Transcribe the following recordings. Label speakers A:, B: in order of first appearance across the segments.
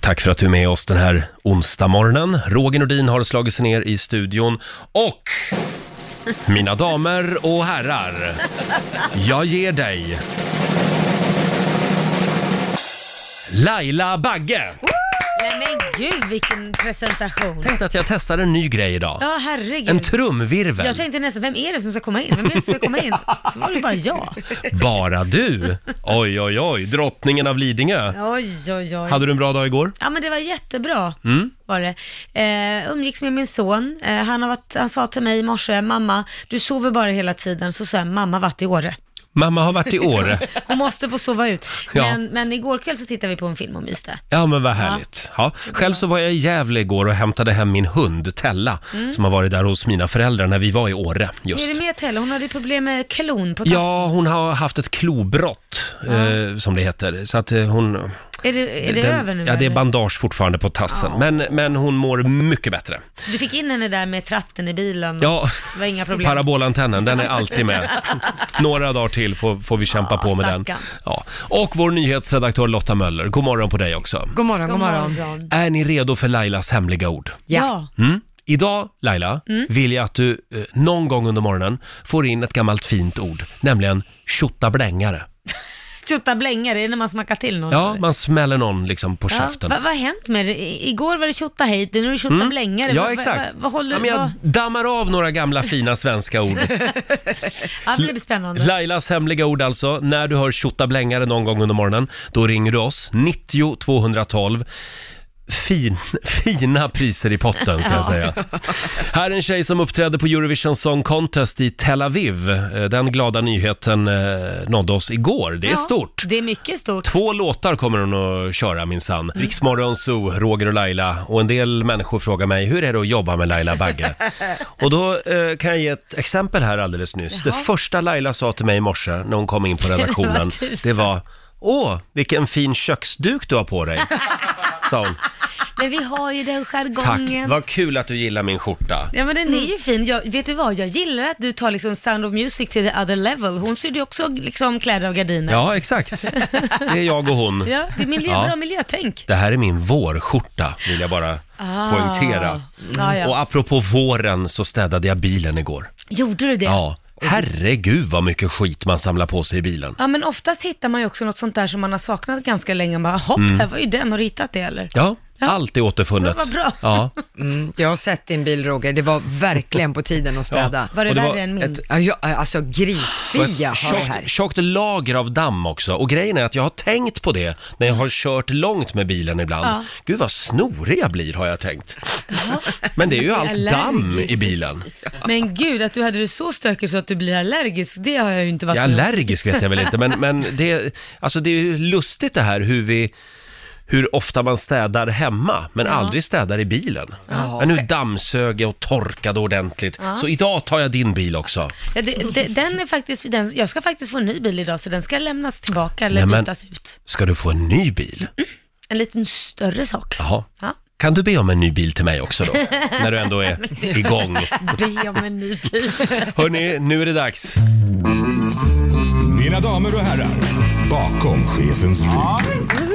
A: Tack för att du är med oss den här onsdagmorgonen. Roger Nordin har slagit sig ner i studion och mina damer och herrar, jag ger dig Laila Bagge!
B: Nej men gud vilken presentation.
A: Tänkte att jag testar en ny grej idag.
B: Ja herregud.
A: En trumvirvel.
B: jag tänkte nästan, vem är det som ska komma in? Vem är det som ska komma in? Så var det bara jag.
A: Bara du! Oj, oj, oj, drottningen av Lidingö.
B: Oj, oj, oj.
A: Hade du en bra dag igår?
B: Ja men det var jättebra.
A: Mm.
B: Var det. Eh, umgicks med min son. Eh, han, har varit, han sa till mig i morse, mamma, du sover bara hela tiden. Så sa jag, mamma har varit i Åre.
A: Mamma har varit i Åre.
B: Hon måste få sova ut.
A: Ja.
B: Men, men igår kväll så tittade vi på en film och myste.
A: Ja, men vad härligt. Ja. Själv så var jag i Gävle igår och hämtade hem min hund Tella, som har varit där hos mina föräldrar när vi var i Åre. Just.
B: Mm. Är det med Telle? Hon hade ju problem med klon på tassen.
A: Ja, hon har haft ett klobrott, eh, som det heter. Så att eh, hon...
B: Är det, är det
A: den-
B: över nu?
A: Ja, det är
B: eller?
A: bandage fortfarande på tassen. Men, men hon mår mycket bättre.
B: Du fick in henne där med tratten i bilen. och
A: Ja,
B: Det var inga problem.
A: parabolantennen, den är alltid med. Några dagar till får, får vi kämpa
B: Ja,
A: på med den.
B: stackarn.
A: Ja. Och vår nyhetsredaktör Lotta Möller, god morgon på dig också.
C: God morgon, god morgon.
B: morgon.
A: Är ni redo för Lailas hemliga ord?
B: Ja. Mm.
A: Mm. Idag, Laila, vill jag att du eh, någon gång under morgonen får in ett gammalt fint ord, nämligen tjottablängare.
B: Tjota blängare, det är när man smackar till någon.
A: Ja, man smäller någon liksom på
B: Ja,
A: käften. Mm.
B: vad vad har hänt med det? I- Igår var det tjotta hejt, nu är det tjotta blängare.
A: Ja,
B: Vad-
A: exakt.
B: Vad, vad, vad håller
A: ja,
B: du...
A: men jag
B: Ja,
A: dammar av några gamla fina svenska ord.
B: ja, men det blir spännande.
A: Lailas hemliga ord alltså. När du hör tjottablängare någon gång under morgonen, då ringer du oss. 90 212. Fin, fina priser i potten ska jag
B: Ja.
A: säga. Här är en tjej som uppträdde på Eurovision Song Contest i Tel Aviv. Eh, Den glada nyheten eh, nådde oss igår. Det är
B: Ja,
A: stort.
B: Det är mycket stort.
A: Två låtar kommer hon att köra minsann.
B: Mm.
A: Riksmorgon Zoo, Roger och Laila. Och en del människor frågar mig, hur är det att jobba med Laila Bagge? och då eh, kan jag ge ett exempel här alldeles nyss. Det första Laila sa till mig i morse när hon kom in på redaktionen,
B: Vad tusan.
A: det var, åh, vilken fin köksduk du har på dig. Sa hon.
B: Men vi har ju den
A: Tack,
B: jargongen.
A: vad Mm. kul att du gillar min skjorta.
B: Ja men den är ju fin. Jag, vet du vad, jag gillar att du tar liksom Sound of Music till the other level. Hon sydde ju också liksom kläder av gardiner.
A: Ja, exakt. Det är jag och hon.
B: Ja, det är miljö,
A: Ja.
B: bra miljötänk.
A: Det här är min vårskjorta, vill jag bara
B: Ah.
A: poängtera.
B: Ja, ja.
A: Och apropå våren så städade jag bilen igår.
B: Gjorde du det?
A: Ja, herregud vad mycket skit man samlar på sig i bilen.
B: Ja, men oftast hittar man ju också något sånt där som man har saknat ganska länge. Man bara, hopp,
A: Mm.
B: här var ju den. Har du hittat det eller?
A: Ja, allt är återfunnet.
B: Men vad bra.
A: Ja.
C: Mm, jag har sett din bil Roger, det var verkligen på tiden att städa.
B: Var det,
A: Och det
B: värre
A: var
B: än min?
A: ett-
C: Ja. Jag, alltså
A: Och ett
C: grisfia har jag
A: tjockt,
C: här.
A: tjockt lager av damm också. Och grejen är att jag har tänkt på det när jag har kört långt med bilen ibland.
B: Ja.
A: Gud vad snorig jag blir har jag tänkt. Men det är ju
B: Jag är
A: allt damm
B: allergisk.
A: i bilen.
B: Men gud, att du hade det så stökigt så att du blir allergisk, det har jag ju inte varit
A: Jag är
B: med om.
A: allergisk vet jag väl inte, men, men det, alltså det är ju lustigt det här hur vi hur ofta man städar hemma, men aldrig städar i bilen.
C: Ja.
A: Men nu dammsög jag och torkade ordentligt. Så idag tar jag din bil också.
B: Ja, det, det, den är faktiskt, den, jag ska faktiskt få en ny bil idag, så den ska lämnas tillbaka eller
A: Nej, men-
B: bytas ut.
A: Ska du få en ny bil?
B: En liten större sak.
A: Jaha.
B: Ja.
A: Kan du be om en ny bil till mig också då? När du ändå är igång.
B: Be om en ny bil.
A: Hörni, nu är det dags.
D: Mina damer och herrar, bakom chefens rygg.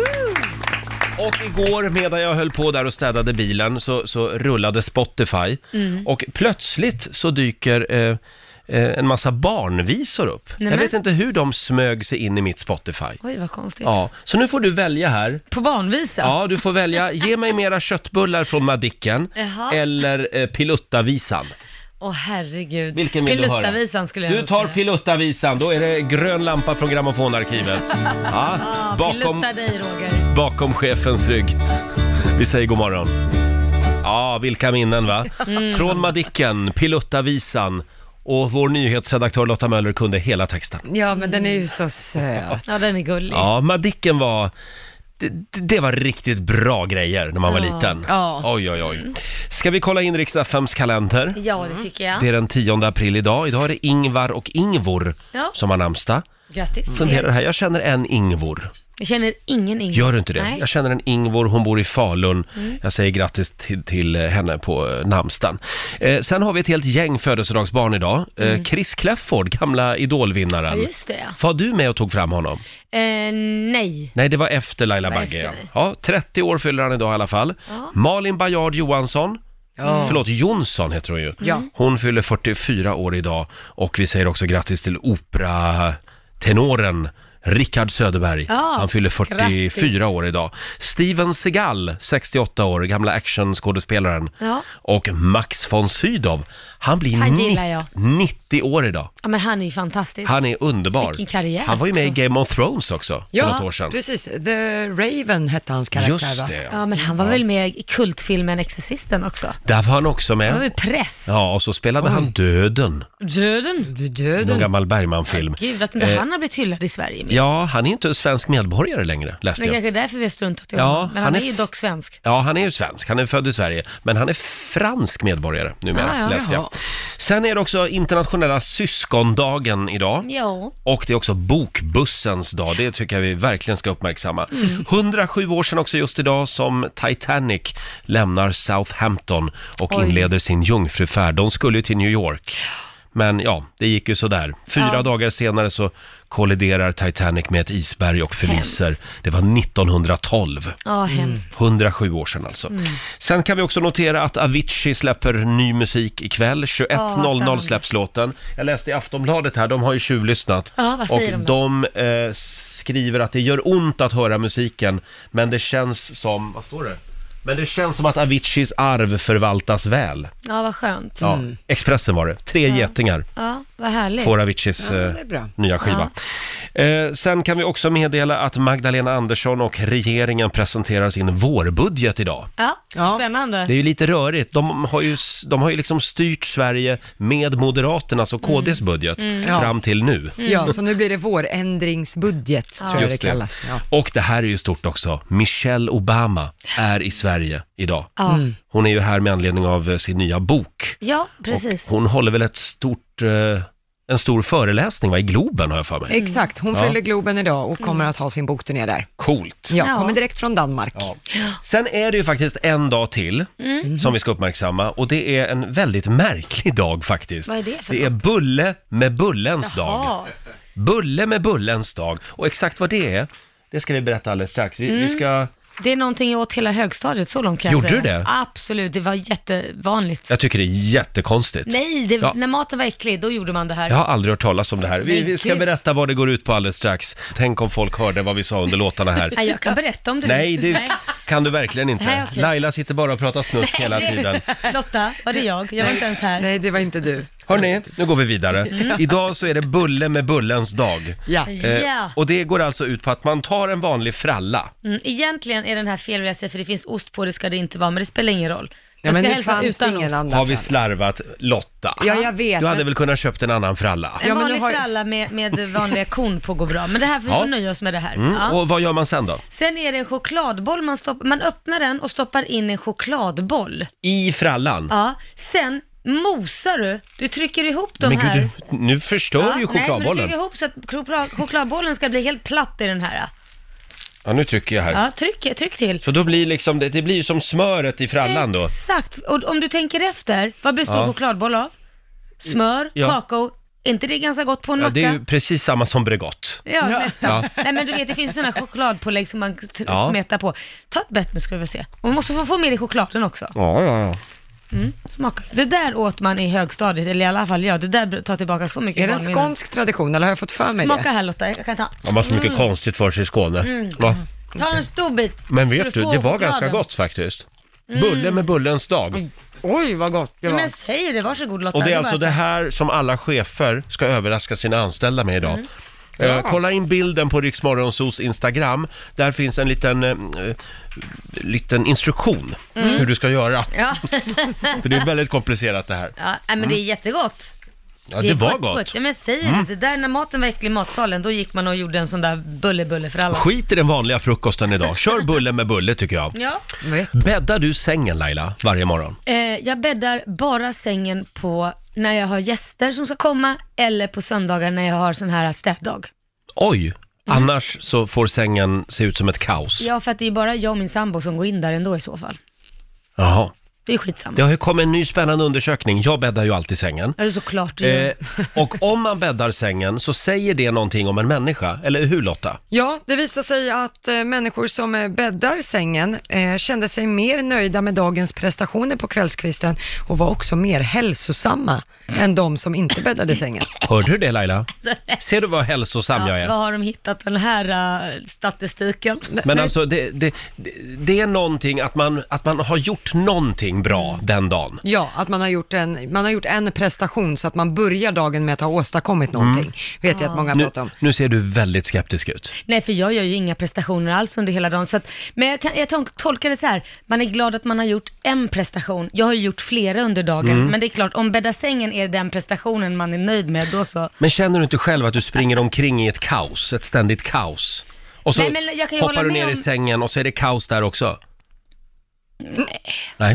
A: Och igår medan jag höll på där och städade bilen så, så rullade Spotify
B: Mm.
A: och plötsligt så dyker eh, eh, en massa barnvisor upp.
B: Nämen.
A: Jag vet inte hur de smög sig in i mitt Spotify.
B: Oj, vad konstigt.
A: Ja, så nu får du välja här.
B: På barnvisa?
A: Ja, du får välja. Ge mig mera köttbullar från Madicken
B: Jaha.
A: eller eh, Piluttavisan.
B: Åh herregud.
A: Vilken vill du höra?
B: Piluttavisan skulle jag
A: Du
B: nog
A: tar
B: säga.
A: Piluttavisan, då är det grön lampa från Grammofonarkivet. Ja,
B: Ja,
A: bakom,
B: Pilutta dig Roger.
A: bakom chefens rygg. Vi säger god morgon. Ja, vilka minnen va?
B: Mm.
A: Från Madicken, Piluttavisan och vår nyhetsredaktör Lotta Möller kunde hela texten.
C: Ja, men den är ju så söt.
B: Ja, den är gullig.
A: Ja, Madicken var... Det, det var riktigt bra grejer när man var
B: Ja.
A: liten.
C: Ja.
A: Oj, oj, oj. Ska vi kolla in riks kalender?
B: Ja, det tycker jag.
A: Det är den 10 april idag. Idag är det Ingvar och Ingvor
B: Ja.
A: som har namnsdag.
B: Grattis till er.
A: Funderar här, jag känner en Ingvor.
B: Jag känner ingen Ingvar.
A: Gör du inte det?
B: Nej. Mm.
A: Jag känner en Ingvor, hon bor i Falun. Jag säger grattis till, till henne på eh, namnsdagen. Eh, sen har vi ett helt gäng födelsedagsbarn idag. Eh, Chris Clefford, gamla
B: Mm. Ja,
A: idolvinnaren.
B: just det ja.
A: Var du med och tog fram honom?
B: Eh, nej.
A: Nej, det var efter Laila
B: Det var
A: Bagge.
B: efter
A: ja.
B: mig.
A: Ja, 30 år fyller han idag i alla fall. Malin Bajard Johansson. Mm. Förlåt, Jonsson heter hon ju.
C: Ja.
A: Hon fyller 44 år idag och vi säger också grattis till operatenoren Rickard Söderberg.
B: Ja,
A: Han fyller 44
B: grattis.
A: år idag. Steven Seagal, 68 år, gamla actionskådespelaren.
B: Ja.
A: Och Max von Sydow, han blir
B: Han gillar
A: 90,
B: jag.
A: 90 år idag.
B: Ja, men han är ju fantastisk.
A: Han är underbar.
B: Vilken karriär
A: han var ju med
B: också.
A: i Game of Thrones också, för något år sedan.
C: precis. The Raven hette hans karaktär
A: Just
C: va?
A: det, ja.
B: Ja, men han var väl med i kultfilmen Exorcisten också.
A: Där var han också
B: Han var
A: med.
B: väl press.
A: Ja, och så spelade han Döden,
B: Döden.
C: Du
A: någon
C: döden.
A: gammal Bergman-film.
B: Gud, att inte
A: Eh,
B: han har blivit hyllad i Sverige mer.
A: Ja, han är ju inte svensk medborgare längre, läste
B: Det
A: jag.
B: kanske är därför vi har struntat i
A: Ja,
B: honom. men han,
A: han är
B: är ju
A: f-
B: dock svensk.
A: Ja, han är ju svensk. Han är född i Sverige, men han är fransk medborgare numera,
B: Ah, ja,
A: läste jag.
C: jaha.
A: Sen är det också internationella syskondagen idag.
B: Ja.
A: Och det är också bokbussens dag, det tycker jag vi verkligen ska uppmärksamma. 107 år sedan också just idag som Titanic lämnar Southampton och
B: Oj.
A: inleder sin jungfrufärd. De skulle ju till New York. Men ja, det gick ju sådär. Fyra
B: Ja.
A: dagar senare så kolliderar Titanic med ett isberg och förliser.
B: Hemskt.
A: Det var 1912.
B: Ja, hemskt. Mm.
A: 107 år sedan alltså. Sen kan vi också notera att Avicii släpper ny musik ikväll.
B: Ja,
A: 21.00
B: spännande.
A: släpps låten. Jag läste i Aftonbladet här, de har ju tjuvlyssnat.
B: Ja, vad säger
A: och
B: de då?
A: de, eh, skriver att det gör ont att höra musiken, men det känns som, vad står det? Men det känns som att Aviciis arv förvaltas väl.
B: Ja, vad skönt.
A: Ja,
C: Mm.
A: Expressen var det. Tre getingar
B: Mm. Ja, vad härligt.
A: får Aviciis eh,
C: det är bra.
A: nya skiva. Eh, sen kan vi också meddela att Magdalena Andersson och regeringen presenterar sin vårbudget idag.
B: Ja,
C: Ja.
B: spännande.
A: Det är ju lite rörigt. De har ju, de har ju liksom styrt Sverige med Moderaternas och KDs budget
C: Ja. Mm.
A: fram till nu.
B: Mm.
C: Ja, så nu blir det vårändringsbudget, tror jag det
A: Just det.
C: kallas. Ja.
A: Och det här är ju stort också. Michelle Obama är i Sverige idag.
B: Ja.
C: Mm.
A: Hon är ju här med anledning av eh, sin nya bok.
B: ja, precis.
A: Och hon håller väl ett stort, eh, en stor föreläsning va, i Globen har jag för mig.
C: Exakt, hon
A: Ja.
C: fyller Globen idag och kommer att ha sin bokturné där.
A: Coolt.
C: Ja,
B: Mm. Ja.
C: kommer direkt från Danmark.
A: Ja. Sen är det ju faktiskt en dag till
B: Mm.
A: som vi ska uppmärksamma och det är en väldigt märklig dag faktiskt.
B: Vad är det för
A: Det är bulle med bullens dag.
B: Jaha.
A: Bulle med bullens dag. Och exakt vad det är, det ska vi berätta alldeles strax. Vi,
B: Mm.
A: vi ska...
B: Det är någonting jag åt hela högstadiet, så långt kan
A: Gjorde
B: jag säga.
A: du det?
B: Absolut, det var jättevanligt.
A: Jag tycker det är jättekonstigt.
B: Nej, det,
A: Ja.
B: när maten var äcklig, då gjorde man det här.
A: Jag har aldrig hört talas om det här. Vi,
B: Men
A: vi ska
B: gud.
A: berätta vad det går ut på alldeles strax. Tänk om folk hörde vad vi sa under låtarna här.
B: Nej, jag kan berätta om det.
A: Nej, det kan du verkligen
B: Nej,
A: inte.
B: okej.
A: Laila sitter bara och pratar snusk hela tiden.
B: Lotta, var det jag? Jag var inte ens här.
C: Nej, det var inte du.
A: Hörni, nu går vi vidare. Idag så är det bulle med bullens dag. Eh,
C: Ja.
B: Mm. Ja.
A: och det går alltså ut på att man tar en vanlig fralla.
B: Mm, egentligen är den här fel vill jag säga, för det finns ost på, det ska det inte vara, men det spelar ingen roll.
C: Ja,
B: Jag
C: men
B: ska
C: det
B: hälsa
C: fanns
B: utan
C: ingen
B: ost.
C: annan
A: Har vi
C: fall.
A: slarvat Lotta?
C: Ja, jag vet.
A: Du hade
C: men-
A: väl kunnat köpt en annan fralla?
B: En
C: Ja, men
B: vanlig
C: du har-
B: fralla med, med vanliga korn på går bra, men det här får vi
A: Ja.
B: får nöja oss med det här.
A: Mm.
B: Ja.
A: Och vad gör man sen då?
B: Sen är det en chokladboll man stoppar, man öppnar den och stoppar in en chokladboll.
A: I frallan?
B: Ja, sen mosar du, du trycker ihop de
A: men
B: här.
A: gud, du, nu förstör
B: Ja,
A: du
B: Nej,
A: ju
B: men du
A: chokladbollen.
B: trycker ihop så att choklad, chokladbollen ska bli helt platt i den här.
A: Ja, nu trycker jag här.
B: Ja, tryck, tryck till.
A: Så då blir liksom, det, det blir ju som smöret i frallan då.
B: Exakt, och om du tänker efter, vad består
A: Ja.
B: chokladboll av? Smör,
A: Ja.
B: kakao, är inte det ganska gott på en
A: Ja,
B: macka?
A: det är ju precis samma som Bregott.
B: Ja,
C: Ja.
B: nästan.
A: Ja.
B: Nej men du vet, det finns sådana chokladpålägg som man t-
A: Ja.
B: smetar på. Ta ett bett nu ska du få se. Och man måste få, få med i chokladen också.
A: Ja, ja, ja.
B: Smaka. Det där åt man i högstadiet, eller i alla fall jag. Det där tar tillbaka så mycket
C: Är det en
B: barnminnen.
C: skånsk tradition eller har jag fått för mig
B: Smaka
C: det?
B: här Lotta, jag kan ta.
A: De har så
B: Mm.
A: mycket konstigt för sig i Skåne. Va?
B: Ta en stor bit.
A: Men
B: så
A: vet du,
B: får
A: det var
B: chokladen.
A: ganska gott faktiskt. Bulle med bullens dag.
C: Oj, vad gott det
B: Nej,
C: var.
B: men säg det, varsågod Lotta.
A: Och det är
B: var
A: alltså det
B: att-
A: här som alla chefer ska överraska sina anställda med idag. Eh, kolla in bilden på Riksmorgonsos Instagram. Där finns en liten, eh, eh, liten instruktion hur du ska göra.
B: Ja,
A: För det är väldigt komplicerat det här.
B: ja nej, men det är jättegott.
A: Ja, det
B: är
A: var gott. Mm.
B: gott. Ja, men säg det, det där när maten var äcklig i matsalen, då gick man och gjorde en sån där bulle-bulle för alla.
A: Skit i den vanliga frukosten idag. Kör bulle med bulle tycker jag.
B: Ja.
C: Vet-
A: Bäddar du sängen Laila varje morgon?
B: Eh, jag bäddar bara sängen på när jag har gäster som ska komma eller på söndagar när jag har sån här städdag.
A: Oj! Annars så får sängen se ut som ett kaos.
B: Ja, för att det är bara jag och min sambo som går in där ändå i så fall.
A: Jaha.
B: Det är skitsamma.
A: Det har ju kommit en ny spännande undersökning. Jag bäddar ju alltid sängen.
B: Ja, det är såklart det gör.
A: Eh, och om man bäddar sängen så säger det någonting om en människa, eller hur Lotta?
C: Ja, det visar sig att eh, människor som eh, bäddar sängen eh, kände sig mer nöjda med dagens prestationer på kvällskvisten och var också mer hälsosamma än de som inte bäddade sängen.
A: Hörde du det Laila? Ser du vad hälsosam jag
B: Alltså, Ja, vad
A: är?
B: har de hittat den här eh, statistiken?
A: Men alltså, det, det, det- det är någonting att man, att man har gjort någonting bra den dagen.
C: Ja, att man har, gjort en, man har gjort en prestation så att man börjar dagen med att ha åstadkommit någonting. Vet jag att många
A: Mm. Nu,
C: pratar om.
A: nu ser du väldigt skeptisk ut.
B: Nej, för jag gör ju inga prestationer alls under hela dagen. Så att, men jag, kan, jag tol- tolkar det så här, man är glad att man har gjort en prestation. Jag har ju gjort flera under dagen,
A: Mm.
B: men det är klart, om bädda sängen är den prestationen man är nöjd med, då så.
A: Men känner du inte själv att du springer omkring i ett kaos, ett ständigt kaos? Och så
B: Nej, men jag kan ju
A: hoppar
B: hålla
A: du
B: med
A: ner i
B: om-
A: sängen och så är det kaos där också? Nej.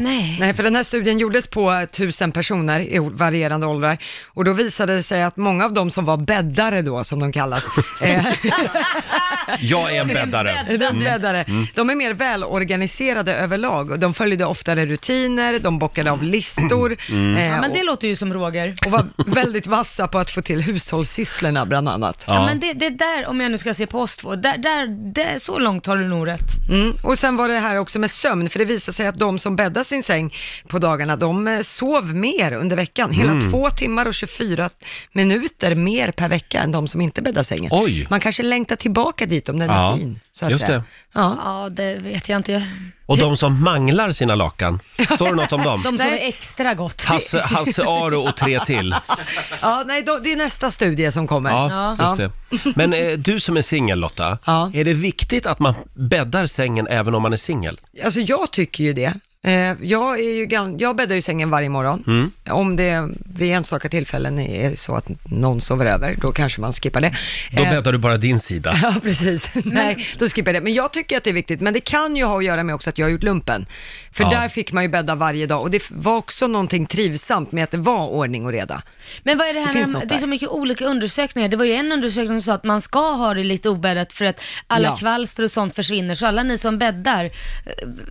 B: Nej.
C: Nej, för den här studien gjordes på tusen personer i o- varierande åldrar och då visade det sig att många av de som var bäddare då, som de kallas, eh,
A: Jag är en bäddare. Mm.
C: de, bäddare, Mm. de är mer välorganiserade överlag och de följde oftare rutiner, de bockade av listor
A: Mm.
C: eh,
B: Ja, men det låter ju som Roger.
C: och, och var väldigt vassa på att få till hushållssysslorna bland annat.
B: Ja.
A: Ja.
B: men det, det där, om jag nu ska se på oss två, där, där, där, så långt har du nog rätt.
C: Mm. Och sen var det här också med sömn, för det visade sig att de som bäddade sin säng på dagarna, de eh, sov mer under veckan. Hela
A: Mm.
C: två timmar och 24 minuter mer per vecka än de som inte bäddar sängen.
A: Oj.
C: Man kanske längtar tillbaka dit om den
A: Ja,
C: är fin, så att
A: just
C: säga.
A: det.
C: Ja.
B: Ja, det vet jag inte.
A: Och de som manglar sina lakan, står det något om dem?
B: De sover extra gott.
A: Hasse, Hasse Aro och tre till.
C: ja, nej, då, det är nästa studie som kommer.
A: Ja, just det. Men eh, du som är singel Lotta,
C: Ja.
A: är det viktigt att man bäddar sängen även om man är singel?
C: Alltså jag tycker ju det. Eh, Jag, är ju gan- jag bäddar ju sängen varje morgon.
A: Mm.
C: Om det vid enstaka tillfällen är så att någon sover över, då kanske man skippar det.
A: Då
C: Eh,
A: bäddar du bara din sida.
C: Ja, precis. Nej, då skippar jag det. Men jag tycker att det är viktigt. Men det kan ju ha att göra med också att jag har gjort lumpen. För
A: Ja.
C: där fick man ju bädda varje dag. Och det f- var också någonting trivsamt med att det var ordning och reda.
B: Men vad är det här
C: Det
B: med
C: finns
B: de,
C: något
B: det är
C: där.
B: så mycket olika undersökningar. Det var ju en undersökning som sa att man ska ha det lite obäddat för att alla
C: Ja.
B: kvalster och sånt försvinner. Så alla ni som bäddar, eh,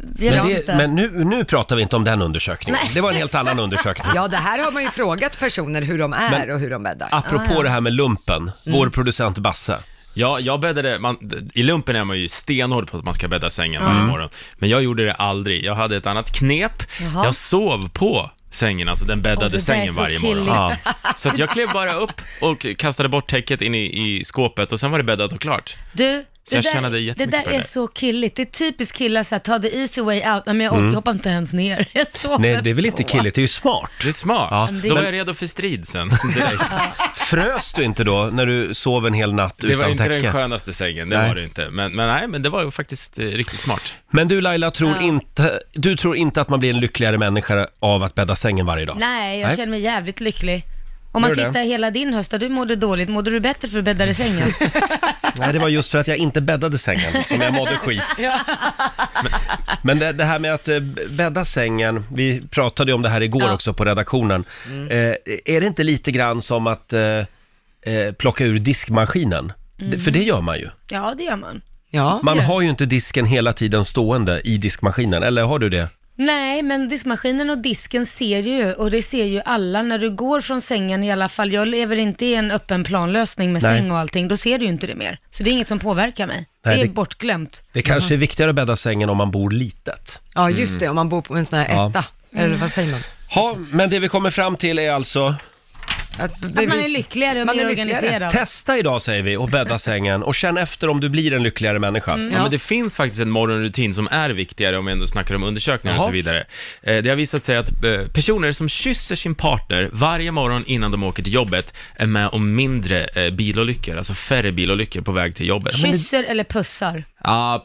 B: vi
A: Men,
B: har
A: det,
B: inte.
A: men nu, nu pratar vi inte om den undersökningen. Det var en helt annan undersökning.
C: Ja, det här har man ju frågat personer hur de är
A: Men-
C: och hur de bäddar. Ah,
A: Apropå det här med lumpen, vår producent Basse.
E: Mm. Ja, jag bäddade, man, d- i lumpen är man ju stenhård på att man ska bädda sängen varje morgon. Men jag gjorde det aldrig. Jag hade ett annat knep.
B: Jaha.
E: Jag sov på sängen, alltså den
B: Åh, det
E: bäddade
B: där är
E: sängen
B: så
E: varje
B: killigt.
E: morgon.
A: Ja.
E: Så att jag klev bara upp och kastade bort täcket in i, i skåpet och sen var det bäddat och klart.
B: Du,
E: Så jag tjänade
B: där, det
E: jättemycket
B: där
E: på
B: är
E: det där.
B: så killigt. Det är typiskt killar så här, ta the easy way out. Nej, men jag orkar, jag hoppar inte ens ner. Jag sover
A: Mm. Nej, det är väl
B: på.
A: inte killigt, det är ju smart.
E: Det är smart.
A: Ja,
B: men det-
E: Då var jag redo för strid sen direkt.
A: Frös du inte då när du sov en hel natt
E: Det var
A: utan
E: inte den
A: täcke?
E: skönaste sängen, det
A: Nej.
E: var det inte. Men, men nej, men det var ju faktiskt eh, riktigt smart.
A: Men du Laila, tror
B: Ja.
A: inte, du tror inte att man blir en lyckligare människa av att bädda sängen varje dag?
B: Nej, jag
A: Nej.
B: känner mig jävligt lycklig. Om man
A: Gör det?
B: tittar hela din höst, där du mådde dåligt, mådde du bättre för att bädda i sängen?
A: Nej, det var just för att jag inte bäddade sängen som jag mådde skit. Men det, det här med att eh, bädda sängen, vi pratade ju om det här igår
B: Ja. Mm.
A: också på redaktionen. Eh, är det inte lite grann som att eh, eh, plocka ur diskmaskinen? Det- För det gör man ju.
B: Mm. ja, det gör man.
C: Ja.
A: Man har ju inte disken hela tiden stående i diskmaskinen, eller har du det?
B: Nej, men diskmaskinen och disken ser ju, och det ser ju alla när du går från sängen i alla fall. Jag lever inte i en öppen planlösning med
A: Nej.
B: säng och allting, då ser du ju inte det mer. Så det är inget som påverkar mig.
A: Nej,
B: det är
A: det-
B: bortglömt.
A: Det kanske är viktigare att bädda sängen om man bor litet.
C: ja, just det. Om man bor på en sån här
A: Mm. Ja.
C: etta. Eller vad säger man?
A: Ja, men det vi kommer fram till är alltså,
C: Att,
B: Att man är lyckligare och
C: Man är
B: mer
C: lyckligare.
B: organiserad.
A: testa idag säger vi och bädda sängen och känn efter om du blir en lyckligare människa.
E: Ja. men det finns faktiskt en morgonrutin som är viktigare om vi ändå snackar om undersökningar och
A: Jaha.
E: så vidare. Eh, Det har visat sig att eh, personer som kysser sin partner varje morgon innan de åker till jobbet är med om mindre eh, bilolyckor, alltså färre bilolyckor på väg till jobbet. Ja,
B: Kysser eller pussar.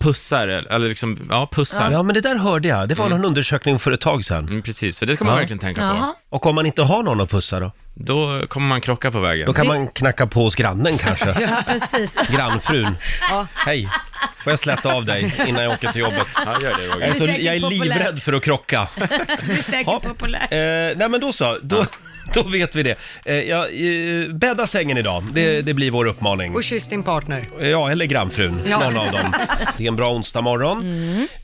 E: pussar, eller liksom, ja, pussar.
A: Ja, men det där hörde jag. Det var någon undersökning för ett tag sedan.
E: Mm, precis, så det ska man verkligen tänka
B: Jaha.
E: på.
A: Och om man inte har någon att pussa då?
E: Då kommer man krocka på vägen.
A: Då kan man knacka på hos grannen kanske.
B: Ja, precis.
A: Grannfrun. Hej, får jag släta av dig innan jag åker till jobbet?
E: Ja, gör det
A: Jag är,
E: Roger.
A: så,
B: Det är säkert
A: jag är
B: populärt.
A: livrädd för att krocka.
B: Det är säkert
A: Ja.
B: populärt.
A: Eh, nej men då så, då, Då vet vi det. Eh, ja, eh, bädda sängen idag, det, det blir vår uppmaning. Eh,
C: Och kyss din partner.
A: Ja, eller grannfrun,
C: Ja.
A: någon av dem. Det är en bra onsdag morgon.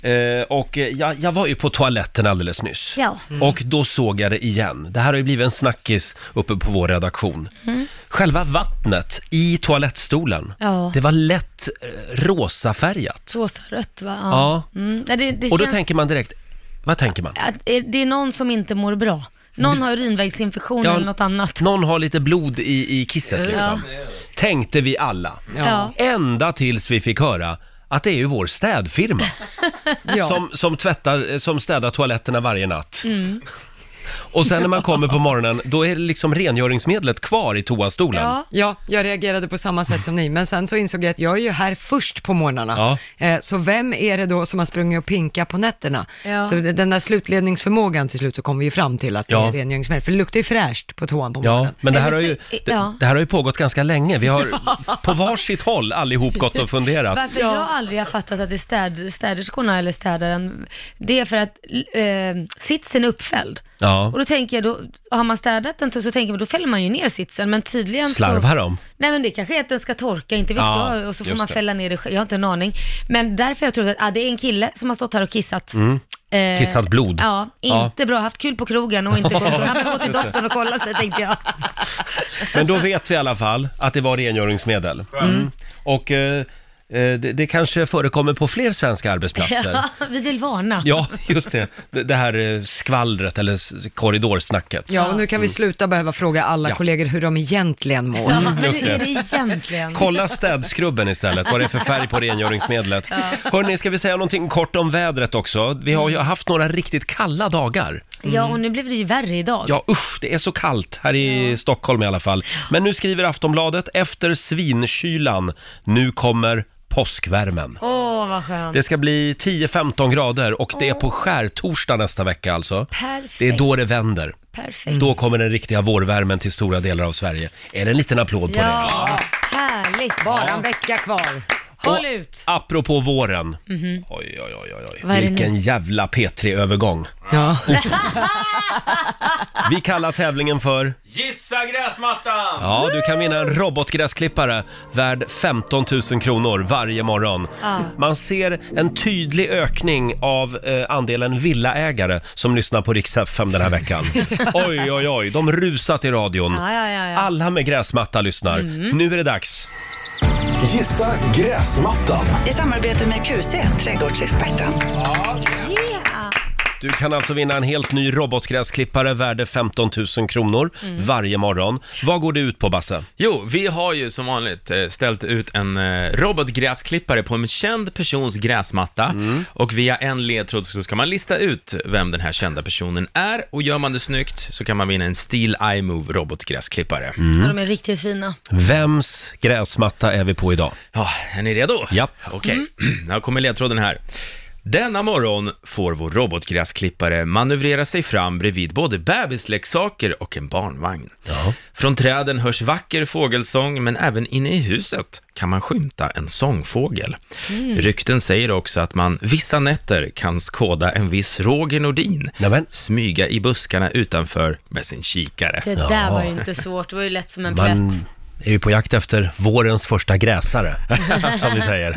A: Eh, och eh, jag, jag var ju på toaletten alldeles nyss. Mm.
B: Ja.
A: Och då såg jag det igen. Det här har ju blivit en snackis uppe på vår redaktion. Själva vattnet i toalettstolen,
B: Mm. Ja.
A: det var lätt eh, rosafärgat.
B: Rosa rött va?
A: Ja.
B: Mm. Nej, det, det
A: Och då
B: känns
A: tänker man direkt, vad tänker man? Mm.
B: att eh, det är någon som inte mår bra. Någon har urinvägsinfektion eller något annat.
A: Någon har lite blod i, i kisset liksom. Tänkte vi alla.
B: Ja.
A: Ända tills vi fick höra att det är ju vår städfirma
C: Ja.
A: som, som, tvättar, som städar toaletterna varje natt. Och sen när man kommer på morgonen, då är liksom rengöringsmedlet kvar i toastolen.
B: Ja.
C: Ja, jag reagerade på samma sätt som ni, men sen så insåg jag att jag är ju här först på morgnarna. Eh, Så vem är det då som har sprungit och pinkat på nätterna?
B: Ja.
C: Så det- den där slutledningsförmågan till slut så kom vi ju fram till att
A: Ja.
C: det är rengöringsmedel, för det luktar ju fräscht på toan på
A: Ja,
C: morgonen.
A: men det här,
B: Eller
A: har
B: Eh, så-
A: ju, det,
B: ja.
A: det här har ju pågått ganska länge. Vi har på varsitt håll allihop gått och funderat.
B: Varför jag aldrig har fattat att det är städ, städerskorna eller städaren, det är för att eh, sitsen är uppfälld.
A: Ja.
B: Och då tänker jag, då, har man städat den så tänker man, då fäller man ju ner sitsen, men tydligen
A: Slarvar
B: så,
A: de?
B: Nej men det kanske är att den ska torka, inte vet
A: Ja,
B: jag, och så får
A: just
B: man
A: det.
B: fälla ner det själv. jag har inte en aning. Men därför har jag trott att ah, det är en kille som har stått här och kissat. Eh,
A: Mm. Kissat blod.
B: Ja,
A: Ja.
B: inte bra. Haft kul på krogen och inte gått, han behöver gå till doktorn och kolla sig tänkte jag.
A: Men då vet vi i alla fall att det var rengöringsmedel. Mm. Och eh, eh, det, det kanske förekommer på fler svenska arbetsplatser.
B: Ja, vi vill varna.
A: Ja, just det. Det det här eh, skvallret eller s- korridorsnacket.
C: Ja, och nu kan vi sluta behöva fråga alla
A: Ja.
C: kollegor hur de egentligen mår.
B: Ja, men
A: just
B: hur är
A: det.
B: det egentligen?
A: Kolla städskrubben istället, vad det är för färg på rengöringsmedlet. Hörni, ska vi säga någonting kort om vädret också? Vi har ju haft några riktigt kalla dagar.
B: Ja, och nu blev det ju värre idag.
A: Mm. Ja, usch, det är så kallt här i Stockholm i alla fall. Men nu skriver Aftonbladet, efter svinkylan, nu kommer påskvärmen.
B: Åh, vad skönt.
A: Det ska bli 10-15 grader och det är på skärtorsdag nästa vecka alltså.
B: Perfekt.
A: Det är då Mm. det vänder.
B: Perfekt.
A: Då kommer den riktiga vårvärmen till stora delar av Sverige. Är det en liten applåd på det?
B: Ja, härligt.
C: Bara en vecka kvar.
B: Håll ut.
A: Apropå våren.
B: Mhm.
A: Oj, oj, oj, oj,
B: Vad
A: oj.
B: är det
A: Vilken jävla P3-övergång.
C: Ja.
A: Vi kallar tävlingen för...
E: Gissa gräsmattan!
A: Ja, du kan vinna en robotgräsklippare värd 15 000 kronor varje morgon.
B: Ja.
A: Man ser en tydlig ökning av eh, andelen villaägare som lyssnar på Rix FM den här veckan. Oj, oj, oj, de rusar till
F: Mm.
A: radion.
B: Ja, ja, ja, Mm. ja.
A: Alla med gräsmatta lyssnar. Nu är det dags.
D: Gissa gräsmattan.
G: I samarbete med QC, trädgårdsexperten.
B: Yeah.
A: Du kan alltså vinna en helt ny robotgräsklippare värde 15 000 kronor
B: Mm.
A: varje morgon. Vad går det ut på, Basse?
E: Jo, vi har ju som vanligt eh, ställt ut en eh, robotgräsklippare på en känd persons gräsmatta
A: Mm.
E: och via en ledtråd så ska man lista ut vem den här kända personen är och gör man det snyggt så kan man vinna en Steel iMove robotgräsklippare.
A: Mm.
B: Ja, de är riktigt fina.
A: Vems gräsmatta är vi på idag?
E: Ja, är ni redo?
A: Ja.
E: Okej, här kommer ledtråden här. Denna morgon får vår robotgräsklippare manövrera sig fram bredvid både bebisleksaker och en barnvagn. Från träden hörs vacker fågelsång, men även inne i huset kan man skymta en sångfågel.
B: Mm.
E: Rykten säger också att man vissa nätter kan skåda en viss Roger Nordin
A: Nämen.
E: smyga i buskarna utanför med sin kikare.
B: Det där var ju inte svårt. Det var ju lätt som en plätt.
A: Man är ju på jakt efter vårens första gräsare, som vi säger.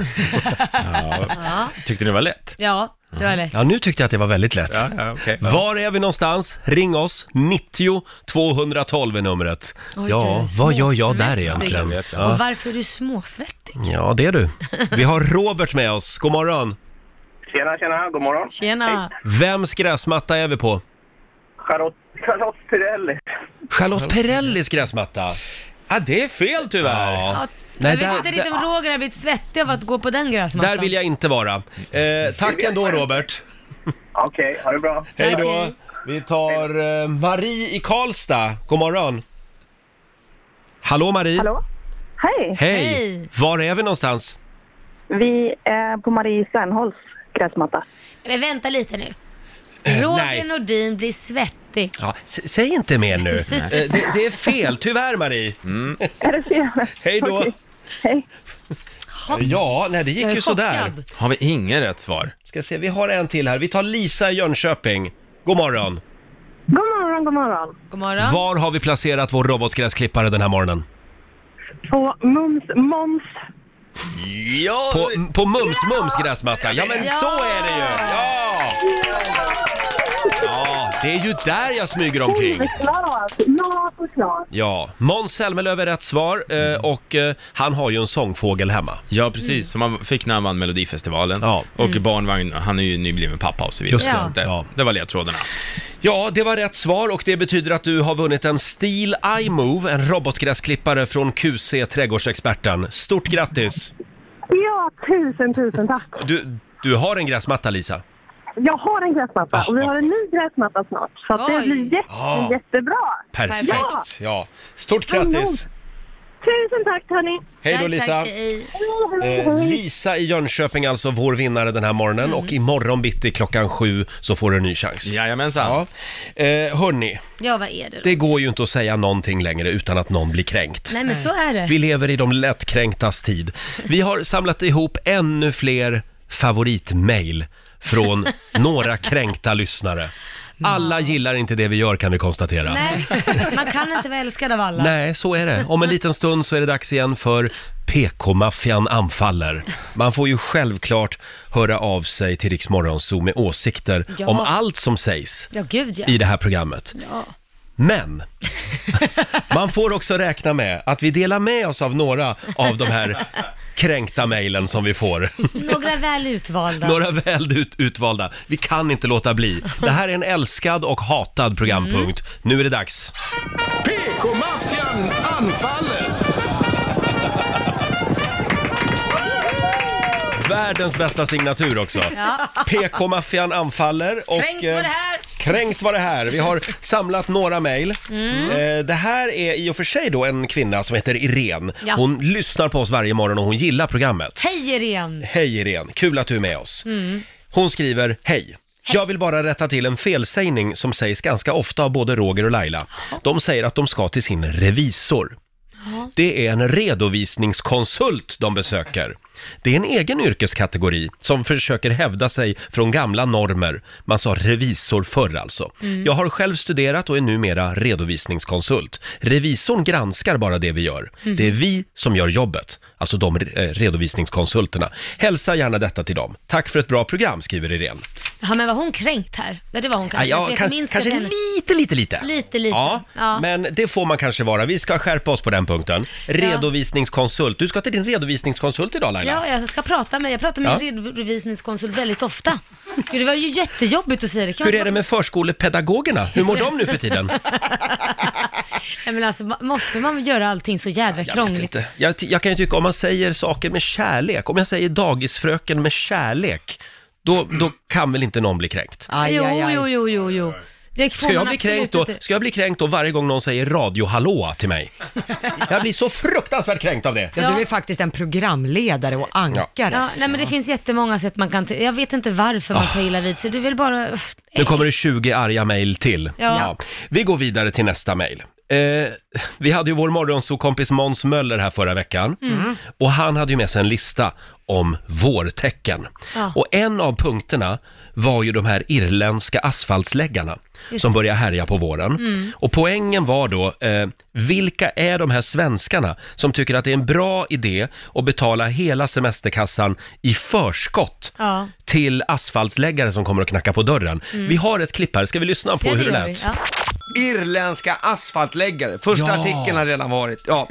E: Tyckte ni det var lätt?
B: Ja, det var lätt.
A: Ja, nu tyckte jag att det var väldigt lätt.
E: Ja, ja, okej.
A: Var är vi någonstans? Ring oss, 90 212 är numret.
B: Oj,
A: ja,
B: du,
A: vad gör jag där
B: småsvettig.
A: egentligen?
E: Jag vet, ja.
B: Och
A: Ja.
B: varför är du småsvettig?
A: ja, det är du. Vi har Robert med oss, god morgon.
H: Tjena, tjena, god morgon.
B: Tjena.
A: Vems gräsmatta är vi på?
H: Charlotte, Charlotte Pirelli.
A: Charlotte Perrellis gräsmatta.
E: Ah, det är fel tyvärr!
B: Ja,
A: Nej,
B: jag vet
A: där-
B: inte riktigt om Roger har blivit svettig av att gå på den gräsmattan.
A: Där vill jag inte vara. Eh, tack ändå Robert.
H: Okej, ha det bra.
A: Hej då.
B: Okej.
A: Vi tar eh, Marie i Karlstad. God morgon. Hallå Marie.
I: Hallå? Hej!
A: Hej.
B: Hej.
A: Var är vi någonstans?
I: Vi är på Marie Serneholms gräsmatta.
B: Men vänta lite nu. Roger
A: Eh, nej.
B: Nordin blir svettig.
A: Ja, s- säg inte mer nu. Eh, det, det är fel, tyvärr Marie.
E: Mm.
I: Är det fel?
A: Hej då. Eh,
I: Okej. Hej.
A: Ja, nej det
B: Jag
A: gick
B: är
A: ju sådär.
B: chockad.
E: Har vi inget rätt svar?
A: Ska se, vi har en till här. Vi tar Lisa i Jönköping. God morgon.
I: God morgon! morgon, god morgon.
B: God morgon.
A: Var har vi placerat vår robotgräsklippare den här morgonen?
I: På Mums, Moms.
E: Ja!
A: På, på Mums Mums gräsmatta. Ja, men så är det ju! Ja! Ja, det är ju där jag smyger omkring.
I: Såklart! Ja, såklart.
A: Ja, Måns Zelmerlöw är rätt svar eh, och eh, han har ju en sångfågel hemma.
E: Ja, precis. Som han fick när han vann Melodifestivalen.
A: Ja.
E: Och barnvagn, han är ju nybliven pappa och så vidare.
A: Mm. Just
B: det.
E: Så att det,
A: Ja.
E: det var ledtrådarna.
A: Ja, det var rätt svar och det betyder att du har vunnit en Steel iMove, en robotgräsklippare från QC Trädgårdsexperten. Stort grattis!
I: Ja, tusen, tusen tack.
A: Du, du har en gräsmatta, Lisa.
I: Jag har en gräsmatta
A: Ah,
I: och vi har en ny gräsmatta snart. Så att det
B: Oj.
I: blir jätte,
A: Ja.
I: jättebra.
A: Ah. Perfekt! Ja. Stort grattis!
I: Tusen tack hörni.
A: Hej då,
B: Tack,
A: Lisa!
B: tack, hej.
A: Eh, Lisa i Jönköping alltså, vår vinnare den här morgonen och imorgon bitti klockan sju så får du en ny chans.
E: Jajamensan.
A: Ja. Eh, hörni,
B: Ja, vad är det då?
A: det går ju inte att säga någonting längre utan att någon blir kränkt.
B: Nej, men så är det.
A: Vi lever i de lättkränktas tid. Vi har samlat ihop ännu fler favoritmail från några kränkta lyssnare. Alla gillar inte det vi gör kan vi konstatera.
B: Nej, man kan inte vara älskad av alla.
A: Nej, så är det. Om en liten stund så är det dags igen för PK-maffian anfaller. Man får ju självklart höra av sig till Rix Morgonzoo med åsikter
B: Ja.
A: om allt som sägs
B: Ja, gud ja.
A: i det här programmet.
B: ja.
A: Men man får också räkna med att vi delar med oss av några av de här kränkta mejlen som vi får.
B: Några väl utvalda.
A: Några väl ut, utvalda. Vi kan inte låta bli. Det här är en älskad och hatad programpunkt.
B: Mm.
A: Nu är det dags.
D: PK-maffian anfaller!
A: Världens bästa signatur också.
B: Ja.
A: PK-maffian anfaller och...
B: Kränkt var det
A: eh,
B: här.
A: Kränkt var det här. Vi har samlat några mejl.
B: Mm.
A: Eh, Det här är i och för sig då en kvinna som heter Irene.
B: Ja.
A: Hon lyssnar på oss varje morgon och hon gillar programmet.
B: Hej Irene.
A: Hej Irene, kul att du är med oss.
B: Mm.
A: Hon skriver, hej. Jag vill bara rätta till en felsägning som sägs ganska ofta av både Roger och Laila. De säger att de ska till sin revisor. Det är en redovisningskonsult de besöker. Det är en egen yrkeskategori som försöker hävda sig från gamla normer. Man sa revisor förr alltså. Jag har själv studerat och är numera redovisningskonsult. Revisorn granskar bara det vi gör. Det är vi som gör jobbet, alltså de eh, redovisningskonsulterna. Hälsa gärna detta till dem. Tack för ett bra program, skriver Irene.
B: Ja, men var hon kränkt här? Ja, det var hon kanske.
A: Ja,
B: För jag
A: kan-
B: förminskade
A: kanske
B: henne.
A: lite, lite, lite.
B: Lite, lite.
A: Ja,
B: Ja.
A: men det får man kanske vara. Vi ska skärpa oss på den punkten. Redovisningskonsult. Du ska till din redovisningskonsult idag Laila.
B: Ja, jag ska prata med, jag pratar med
A: Ja.
B: en redovisningskonsult väldigt ofta. Gud, Det var ju jättejobbigt att säga det. Kan man
A: Hur är det med förskolepedagogerna? Hur mår de nu för tiden?
B: Nej, men alltså, ma- måste man göra allting så jädra
A: Jag vet
B: krångligt?
A: inte. Jag, jag kan ju tycka om man säger saker med kärlek, om jag säger dagisfröken med kärlek, då, då kan väl inte någon bli kränkt?
C: Aj,
B: jo,
C: aj, aj.
B: jo, jo, jo, jo. Det får
A: Ska jag,
B: man
A: bli kränkt då,
B: absolut inte.
A: ska jag bli kränkt då varje gång någon säger radio hallå till mig? Jag blir så fruktansvärt kränkt av det.
B: Ja.
C: Ja, du är faktiskt en programledare och ankare.
B: Ja, nej, men det finns jättemånga sätt man kan... ta- Jag vet inte varför
A: Ah.
B: man tar illa vid sig. Det är väl bara... Uff,
A: Nu kommer det 20 arga mejl till.
B: Ja.
A: Vi går vidare till nästa mejl. Eh, vi hade ju vår morgonsåkompis Måns Möller här förra veckan.
B: Mm.
A: Och han hade ju med sig en lista om vårtecken.
B: Ja.
A: Och en av punkterna var ju de här irländska asfaltsläggarna som börjar härja på våren.
B: Mm.
A: Och poängen var då, eh, vilka är de här svenskarna som tycker att det är en bra idé att betala hela semesterkassan i förskott
B: Ja.
A: till asfaltsläggare som kommer och knacka på dörren. Vi har ett klipp här, ska vi lyssna på
B: Mm. Ja,
A: hur det
B: gör vi.
A: lät?
B: Ja.
J: Irländska asfaltläggare, första
A: Ja.
J: artikeln har redan varit. Ja.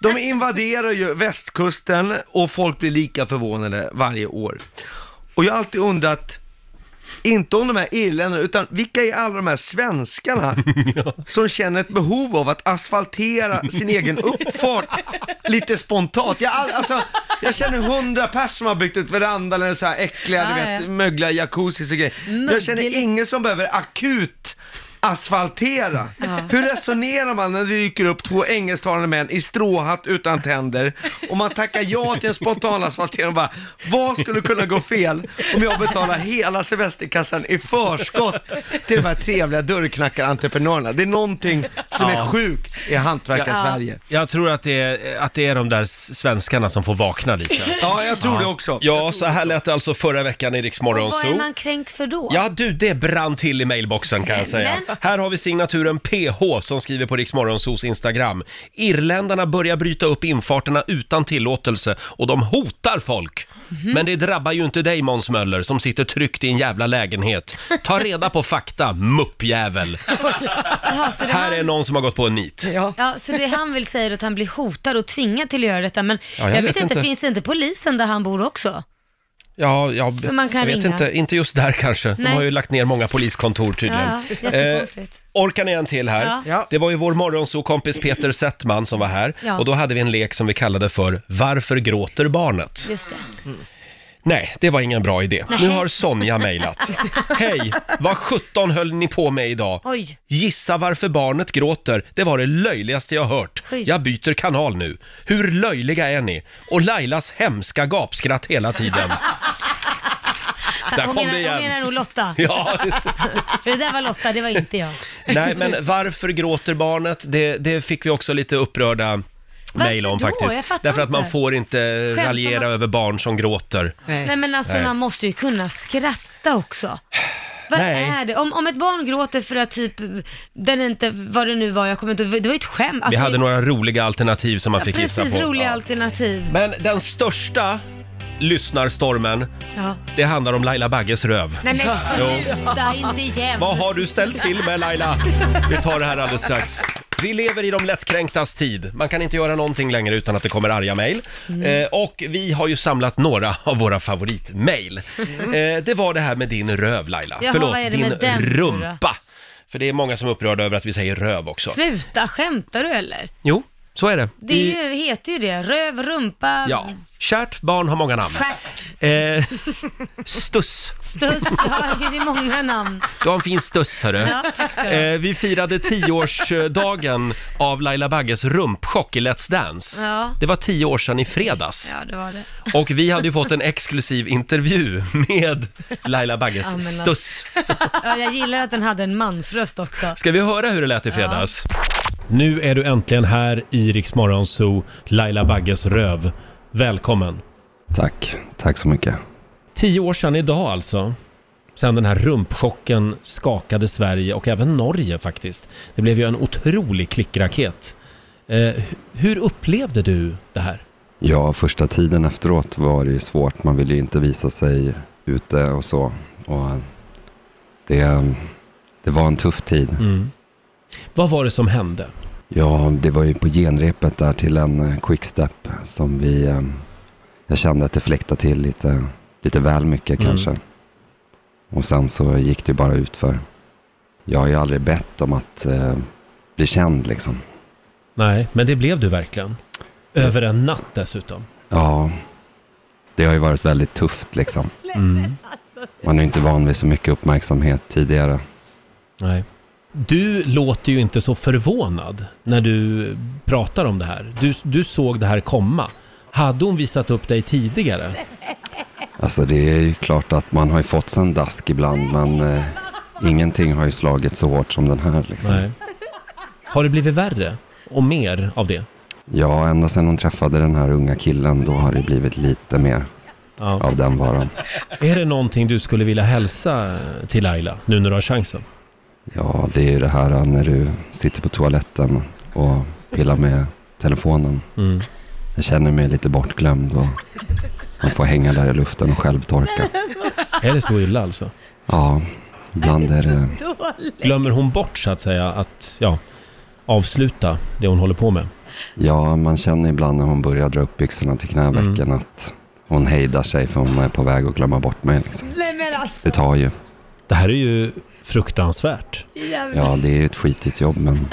J: De invaderar ju västkusten och folk blir lika förvånade varje år. Och jag har alltid undrat, inte om de här irländarna, utan vilka är alla de här svenskarna som känner ett behov av att asfaltera sin egen uppfart lite spontant? Jag, all- alltså, jag känner hundra pers som har byggt ut veranda eller så här äckliga,
B: Ja,
J: du
B: ja.
J: vet, mögliga jacuzzis och grejer. Jag känner ingen som behöver akut asfaltera. Hur resonerar man när det dyker upp två engelsktalande män i stråhatt utan tänder och man tackar ja till en spontan asfaltering och bara, vad skulle kunna gå fel om jag betalar hela semesterkassan i förskott till de här trevliga dörrknackarentreprenörerna? Det är någonting som är sjukt i hantverkar-Sverige.
A: Jag tror att det, är, att det är de där s- svenskarna som får vakna lite.
J: Ja, jag tror det också.
A: Ja, så här lät det alltså förra veckan i Rix
B: Och vad är
A: Morgonzoo.
B: man kränkt för då?
A: Ja du, det brann till i mailboxen kan jag säga.
B: Men,
A: Här har vi signaturen PH som skriver på Riksmorgonsos Instagram. Irländarna börjar bryta upp infarterna utan tillåtelse och de hotar folk.
B: Mhm.
A: Men det drabbar ju inte dig Måns Möller som sitter tryckt i en jävla lägenhet. Ta reda på fakta, muppjävel.
B: Jaha, så Alltså, det
A: Här
B: han,
A: är någon som har gått på en nit.
C: Ja.
B: ja, så det han vill säga är att han blir hotad och tvingad till att göra detta. Men
A: Ja,
B: jag, vet inte, finns inte polisen där han bor också?
A: Ja, ja
B: Som man kan
A: jag vet
B: ringa.
A: inte, inte just där kanske. De
B: Nej.
A: har ju lagt ner många poliskontor tydligen. Eh,
B: Ja, ja, jättekonstigt.
A: orkar ni en till här?
B: Ja.
C: Ja.
A: Det var ju vår morgonsokompis Peter Settman som var här
B: Ja.
A: och då hade vi en lek som vi kallade för Varför gråter barnet?
B: Just det.
A: Nej, det var ingen bra idé. Nu har Sonja mejlat. Hej, vad sjutton höll ni på med idag?
B: Oj.
A: Gissa varför barnet gråter, det var det löjligaste jag hört.
B: Oj.
A: Jag byter kanal nu. Hur löjliga är ni? Och Lailas hemska gapskratt hela tiden. Där
B: hon,
A: kom
B: menar,
A: det
B: hon menar
A: igen.
B: nog Lotta.
A: Ja,
B: För det där var Lotta, det var inte jag.
A: nej men varför gråter barnet? Det, det fick vi också lite upprörda mejl om
B: då?
A: faktiskt.
B: Jag fattar
A: Därför att man
B: inte.
A: får inte
B: man-
A: raljera över barn som gråter.
B: Nej men alltså
A: Nej.
B: man måste ju kunna skratta också. Vad
A: Nej.
B: är det? Om, om ett barn gråter för att typ, den inte, vad det nu var, jag kommer inte det var ju ett skämt.
A: Vi
B: Alltså,
A: hade några roliga alternativ som man fick gissa
B: precis,
A: på.
B: roliga
A: Ja.
B: alternativ.
A: Men den största lyssnarstormen,
B: Ja.
A: det handlar om Laila Bagges röv.
B: Nej men sluta, inte igen.
A: Vad har du ställt till med Laila? Vi tar det här alldeles strax. Vi lever i de lättkränktas tid. Man kan inte göra någonting längre utan att det kommer arga mejl.
B: Mm.
A: Eh, och vi har ju samlat några av våra favoritmejl.
B: Mm.
A: Eh, det var det här med din röv Laila.
B: Jaha, vad är
A: Förlåt,
B: det med
A: din
B: den för då?
A: rumpa. För det är många som är upprörda över att vi säger röv också.
B: Sluta, skämtar du eller?
A: Jo, så är det.
B: Det
A: I-
B: är ju, heter ju det, röv, rumpa,
A: Ja, kärt barn har många namn.
B: stjärt,
A: Eh, stuss.
B: stuss, ja det finns ju många namn.
A: Du har en fin stuss hörru.
B: Ja, tack ska du ha.
A: Eh, vi firade tioårsdagen av Laila Bagges rumpchock i Let's Dance.
B: Ja.
A: Det var tio år sedan i fredags.
B: Ja det var det.
A: Och vi hade ju fått en exklusiv intervju med Laila Bagges
B: Ja, men alltså.
A: stuss.
B: Ja, jag gillar att den hade en mansröst också.
A: Ska vi höra hur det lät i fredags? Nu är du äntligen här i Rix Morgonzoo, Laila Bagges röv. Välkommen!
K: Tack, tack så mycket.
A: Tio år sedan idag alltså. Sen den här rumpchocken skakade Sverige och även Norge faktiskt. Det blev ju en otrolig klickraket. Eh, hu- hur upplevde du det här?
K: Ja, första tiden efteråt var det ju svårt. Man ville ju inte visa sig ute och så. Och det, det var en tuff tid.
A: Mm. Vad var det som hände?
K: Ja, det var ju på genrepet där till en eh, quickstep som vi... eh, Jag kände att det fläktade till lite, lite väl mycket
A: Mm.
K: kanske. Och sen så gick det ju bara ut för. Jag har ju aldrig bett om att eh, bli känd liksom.
A: Nej, men det blev du verkligen. Över en natt dessutom.
K: Ja, det har ju varit väldigt tufft liksom. Man är ju inte van vid så mycket uppmärksamhet tidigare.
A: Nej. Du låter ju inte så förvånad när du pratar om det här. Du, du såg det här komma. Hade hon visat upp dig tidigare?
K: Alltså det är ju klart att man har ju fått sig en dask ibland men eh, ingenting har ju slagit så hårt som den här liksom.
A: Nej. Har det blivit värre? Och mer av det?
K: Ja, ända sedan hon träffade den här unga killen då har det blivit lite mer
A: Ja.
K: av den varan.
A: Är det någonting du skulle vilja hälsa till Laila nu när du har chansen?
K: Ja, det är ju det här eh, när du sitter på toaletten och pillar med telefonen.
A: Mm.
K: Jag känner mig lite bortglömd och man får hänga där i luften och självtorka.
A: Är det så illa alltså?
K: Ja, ibland är det...
A: Glömmer hon bort så att säga att, ja, avsluta det hon håller på med?
K: Ja, man känner ibland när hon börjar dra upp byxorna till knävecken
A: Mm.
K: att hon hejdar sig för hon är på väg att glömma bort mig. Liksom.
B: Alltså.
K: Det tar ju.
A: Det här är ju fruktansvärt.
K: Ja, det är ju ett skitigt jobb men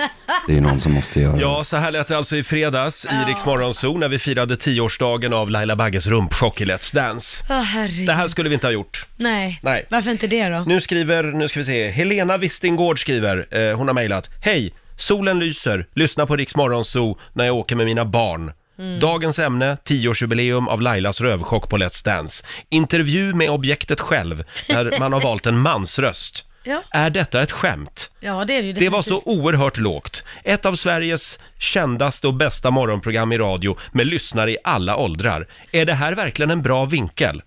K: det är ju någon som måste göra det.
A: Ja, så här lät det alltså i fredags i Rix Morgonzoo när vi firade tioårsdagen av Laila Bagges rumpchock i Let's Dance.
B: Åh
A: Det
B: herregud.
A: här skulle vi inte ha gjort.
B: Nej.
A: Nej.
B: varför inte det då?
A: Nu skriver, nu ska vi se, Helena Wistingård skriver, eh, hon har mejlat. Hej! Solen lyser, lyssna på Rix Morgonzoo när jag åker med mina barn. Dagens ämne, 10-årsjubileum av Lailas rövchock på Let's Dance. Intervju med objektet själv, där man har valt en mansröst.
B: Ja.
A: Är detta ett skämt?
B: Ja det är det ju.
A: Det var så oerhört lågt. Ett av Sveriges kändaste och bästa morgonprogram i radio med lyssnare i alla åldrar. Är det här verkligen en bra vinkel?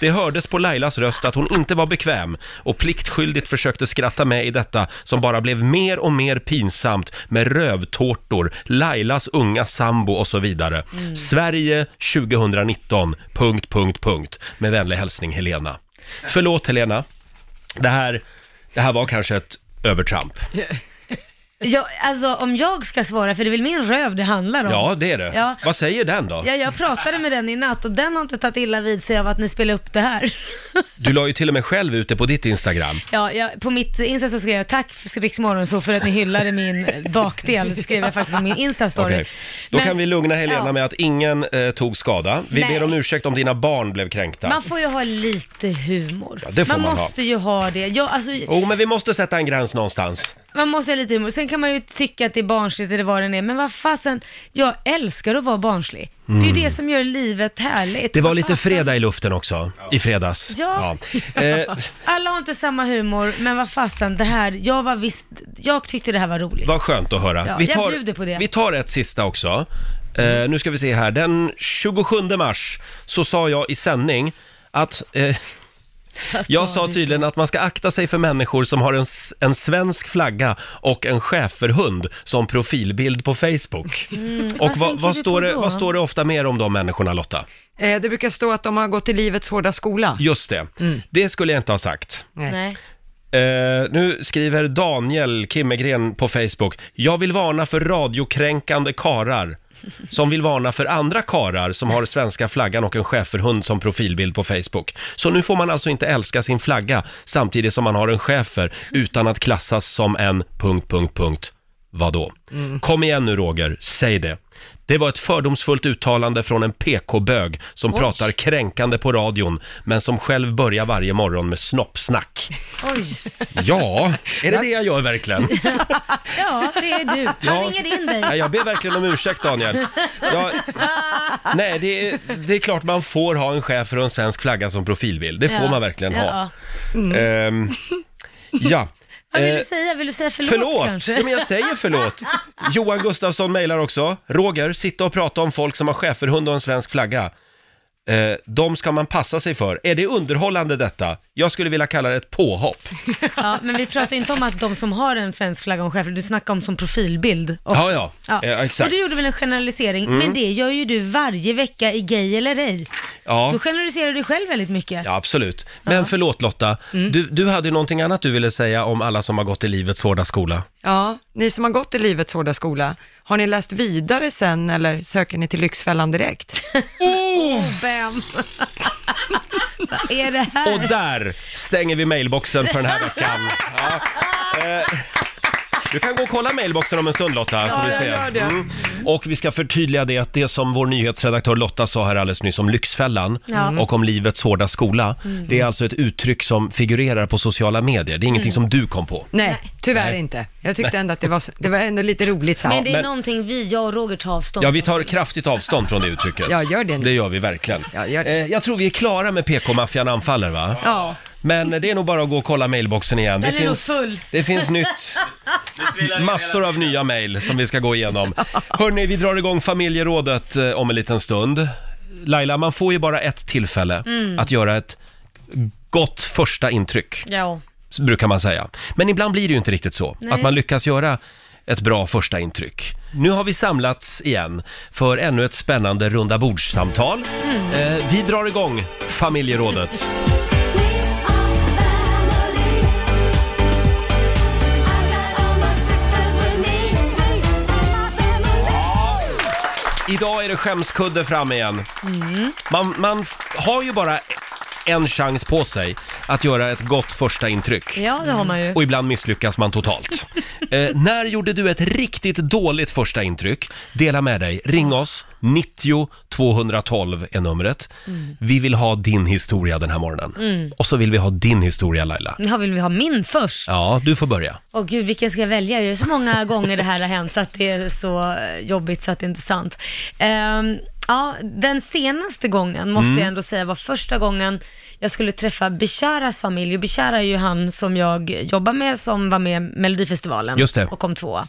A: Det hördes på Lailas röst att hon inte var bekväm och pliktskyldigt försökte skratta med i detta som bara blev mer och mer pinsamt med rövtårtor, Lailas unga sambo och så vidare.
E: Mm.
A: Sverige 2019, punkt, punkt, punkt. Med vänlig hälsning Helena. Förlåt Helena, det här, det här var kanske ett övertramp.
B: Ja, alltså om jag ska svara, för det är väl min röv det handlar om?
A: Ja, det är det.
B: Ja.
A: Vad säger den då?
B: Ja, jag pratade med den i natt och den har inte tagit illa vid sig av att ni spelar upp det här.
A: Du la ju till och med själv ute på ditt Instagram.
B: Ja, jag, på mitt Insta så skrev jag tack för Rix så för att ni hyllade min bakdel, skrev jag faktiskt på min Insta-story.
A: Okej. Då
B: Men-
A: kan vi lugna Helena
B: Ja.
A: med att ingen eh, tog skada. Vi
B: Nej.
A: ber om ursäkt om dina barn blev kränkta.
B: Man får ju ha lite humor.
A: det får man ha.
B: måste ju ha det. Jag, alltså,
A: Oh, men vi måste sätta en gräns någonstans.
B: Man måste ha lite humor. Sen kan man ju tycka att det är barnsligt eller vad det är, men vad fasen, jag älskar att vara barnslig. Det är
A: Mm.
B: ju det som gör livet härligt.
A: Det var
B: Vad
A: lite
B: fasen.
A: fredag i luften också, i fredags.
B: Ja.
A: Ja. Eh,
B: Alla har inte samma humor, men vad fasen, det här, jag var visst, jag tyckte det här var roligt.
A: vad skönt att höra.
B: Ja, jag bjuder på det.
A: vi tar ett sista också. Eh, nu ska vi se här. Den 27 mars så sa jag i sändning att eh, Jag sa tydligen att man ska akta sig för människor som har en, s- en svensk flagga och en schäferhund som profilbild på Facebook.
C: Mm, vad
A: och vad,
C: tänker
A: vad,
C: du
A: står
C: på
A: det,
C: då?
A: vad står det ofta mer om de människorna Lotta?
C: Eh, det brukar stå att de har gått i livets hårda skola. Mm.
A: Just det, det skulle jag inte ha sagt.
C: Nej.
A: Eh, nu skriver Daniel Kimmegren på Facebook. Jag vill varna för radiokränkande karar som vill varna för andra karar som har svenska flaggan och en schäferhund som profilbild på Facebook. Så nu får man alltså inte älska sin flagga samtidigt som man har en schäfer utan att klassas som en... Punkt, punkt, punkt. Vadå? Kom igen nu Roger, säg det. Det var ett fördomsfullt uttalande från en PK-bög som
B: Oj.
A: pratar kränkande på radion men som själv börjar varje morgon med snoppsnack.
B: Oj.
A: Ja, är det det jag gör verkligen?
B: Ja, det är du. Han
A: Ja.
B: ringer in dig.
A: Nej, jag ber verkligen om ursäkt Daniel. Jag, nej, det är, det är klart man får ha en chef och en svensk flagga som profilbild. Det får
B: Ja.
A: man verkligen ha.
B: Ja. Mm.
A: Ehm, ja.
B: Vad vill
A: Eh,
B: du säga? Vill du säga förlåt, kanske?
A: Ja, men jag säger förlåt. Johan Gustafsson mejlar också. Roger, sitta och prata om folk som har schäferhund och en svensk flagga. Eh, de ska man passa sig för. Är det underhållande detta? Jag skulle vilja kalla det ett påhopp.
B: Ja, men vi pratar ju inte om att de som har en svensk flagga och en chef, du snackar om som profilbild. också.
A: Ja, ja. Eh, exakt.
B: Och du gjorde väl en generalisering,
A: Mm.
B: men det gör ju du varje vecka i Gay eller ej.
A: Ja.
B: Då generaliserar du själv väldigt mycket.
A: Ja, absolut. Men förlåt Lotta, du, du hade ju någonting annat du ville säga om alla som har gått i livets hårda skola.
C: Ja, ni som har gått i livets hårda skola, har ni läst vidare sen eller söker ni till Lyxfällan direkt?
B: Oh, Ben! Vad är det här?
A: Och där stänger vi mailboxen för den här veckan. Ja. Eh, Du kan gå och kolla mailboxen om en stund Lotta.
D: Ja,
A: får vi
D: jag
A: se. Mm.
D: gör det.
A: Och vi ska förtydliga det att det som vår nyhetsredaktör Lotta sa här alldeles nyss om Lyxfällan
D: Ja.
A: och om livets hårda skola.
C: Mm.
A: Det är alltså ett uttryck som figurerar på sociala medier. Det är ingenting
C: Mm.
A: som du kom på.
C: Nej, tyvärr
A: Nej.
C: inte. Jag tyckte
A: Nej.
C: ändå att det var, så- det var ändå lite roligt så här.
B: Men det är någonting vi, jag och Roger tar avstånd
A: Ja, vi tar kraftigt avstånd från det uttrycket.
C: Ja, gör det nu.
A: Det gör vi verkligen. Eh, Jag tror vi är klara med PK-maffian anfaller, va?
C: Ja.
A: Men det är nog bara att gå och kolla mailboxen igen. Det
B: Den är nog
A: finns,
B: full.
A: det finns nytt. Massor av nya mejl som vi ska gå igenom. Hörni, vi drar igång familjerådet eh, om en liten stund. Laila, man får ju bara ett tillfälle
B: Mm.
A: att göra ett gott första intryck,
B: Ja.
A: så brukar man säga. Men ibland blir det ju inte riktigt så,
B: Nej.
A: att man lyckas göra ett bra första intryck. Nu har vi samlats igen för ännu ett spännande runda bordssamtal. Eh, vi drar igång familjerådet. Idag är det skämskudde fram igen. Man, man f- har ju bara en chans på sig att göra ett gott första intryck.
B: Ja, det har man ju.
A: Och ibland misslyckas man totalt. eh, när gjorde du ett riktigt dåligt första intryck? Dela med dig. Ring oss. 90 212 är numret.
B: Mm.
A: Vi vill ha din historia den här morgonen.
B: Mm.
A: Och så vill vi ha din historia Laila.
B: Nu vill vi ha min först.
A: Ja, du får börja.
B: Åh gud, vilken ska jag välja? Det är så många gånger det här har hänt så att det är så eh, jobbigt så att det inte är sant. Ehm, ja, den senaste gången måste
G: Mm.
B: jag ändå säga var första gången jag skulle träffa Bisharas familj. Och Bishara är ju han som jag jobbar med som var med i Melodifestivalen
G: Just det.
B: och kom tvåa.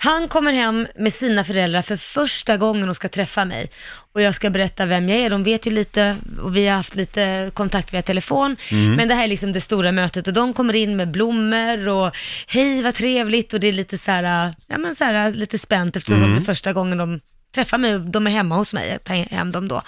B: Han kommer hem med sina föräldrar för första gången och ska träffa mig. Och jag ska berätta vem jag är. De vet ju lite och vi har haft lite kontakt via telefon.
L: Mm.
B: Men det här är liksom det stora mötet och de kommer in med blommor och hej vad trevligt och det är lite så här, ja men så här lite spänt eftersom
L: Mm.
B: det är första gången de träffar mig, och de är hemma hos mig, jag tar hem dem då.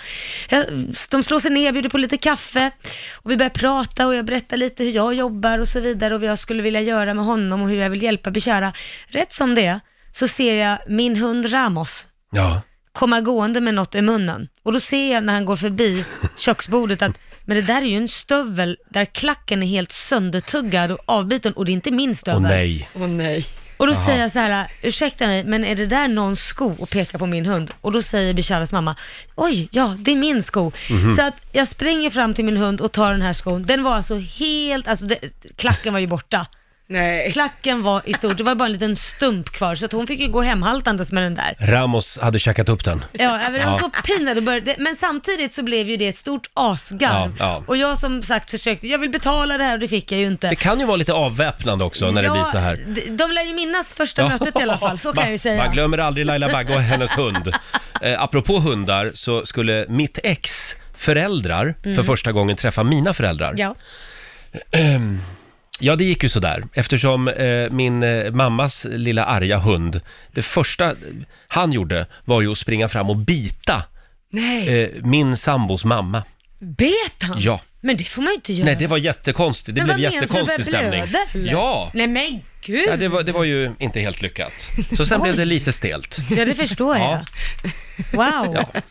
B: Jag- De slår sig ner, jag bjuder på lite kaffe och vi börjar prata och jag berättar lite hur jag jobbar och så vidare och vad jag skulle vilja göra med honom och hur jag vill hjälpa Bishara. Rätt som det är, så ser jag min hund Ramos
A: Ja.
B: komma gående med något i munnen. Och då ser jag när han går förbi köksbordet att men det där är ju en stövel där klacken är helt söndertuggad och avbiten och det är inte min stövel.
A: Åh, nej.
B: Åh nej. Och då
A: Jaha.
B: säger jag så här, ursäkta mig, men är det där någons sko? Och pekar på min hund. Och då säger Bisharas mamma, oj, ja, det är min sko.
L: Mhm.
B: Så att jag springer fram till min hund och tar den här skon. Den var alltså helt, alltså det, klacken var ju borta. Nej. Klacken var i stort, det var bara en liten stump kvar, så att hon fick ju gå hemhaltandes med den där.
A: Ramos hade käkat upp den.
B: Ja, men det var
A: Ja.
B: så pinsamt. att börja- det- Men samtidigt så blev ju det ett stort asgarv.
A: Ja, ja.
B: Och jag som sagt försökte, jag vill betala det här och det fick jag ju inte.
A: Det kan ju vara lite avväpnande också när det
B: Ja,
A: blir så här.
B: d- De lär ju minnas första
A: Ja.
B: mötet i alla fall, så kan
A: man,
B: jag ju säga.
A: Man glömmer aldrig Laila Bagge och hennes hund. Eh, apropå hundar så skulle mitt ex föräldrar för
B: Mm.
A: första gången träffa mina föräldrar.
B: Ja.
A: Ehm, Ja, det gick ju sådär eftersom eh, min eh, mammas lilla arga hund, det första han gjorde var ju att springa fram och bita
B: Nej,
A: eh, min sambos mamma.
B: bet han?
A: Ja.
B: Men det får man ju inte göra.
A: Nej, det var jättekonstigt. Det
B: Men
A: blev
B: vad menar du?
A: jättekonstig
B: Började
A: stämning.
B: blöda, eller?
A: Ja.
B: Nej men gud.
A: ja det, var, det var ju inte helt lyckat. Så sen blev det
B: Oj.
A: lite stelt.
B: Ja, det förstår jag. Wow. Men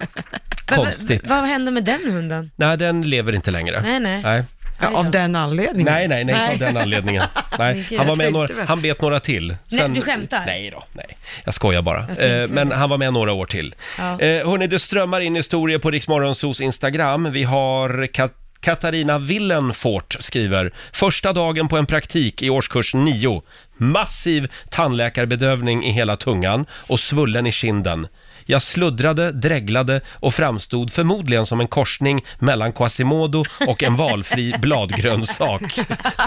B: vad-
A: Konstigt.
B: Vad hände med den hunden?
A: Nej, den lever inte längre.
B: Nej, nej.
A: Ja, av
C: den anledningen?
A: Nej, nej, nej,
B: Nej.
A: av den anledningen.
B: Men
A: Nej.
B: gud,
A: Han, var
B: jag
A: med
B: tänkte
A: några,
B: väl.
A: han bet några till. Sen-
B: Nej, du skämtar?
A: Nej då, nej. Jag skojar bara.
B: Jag tänkte
A: eh, men
B: det.
A: han var med några år till.
B: Ja.
A: Eh, hörni, det strömmar in historier på Riksmorgonsos Instagram. Vi har Kat- Katarina Willenfort skriver, första dagen på en praktik i årskurs 9. Massiv tandläkarbedövning i hela tungan och svullen i kinden. Jag sluddrade, dreglade och framstod förmodligen som en korsning mellan Quasimodo och en valfri bladgrönsak,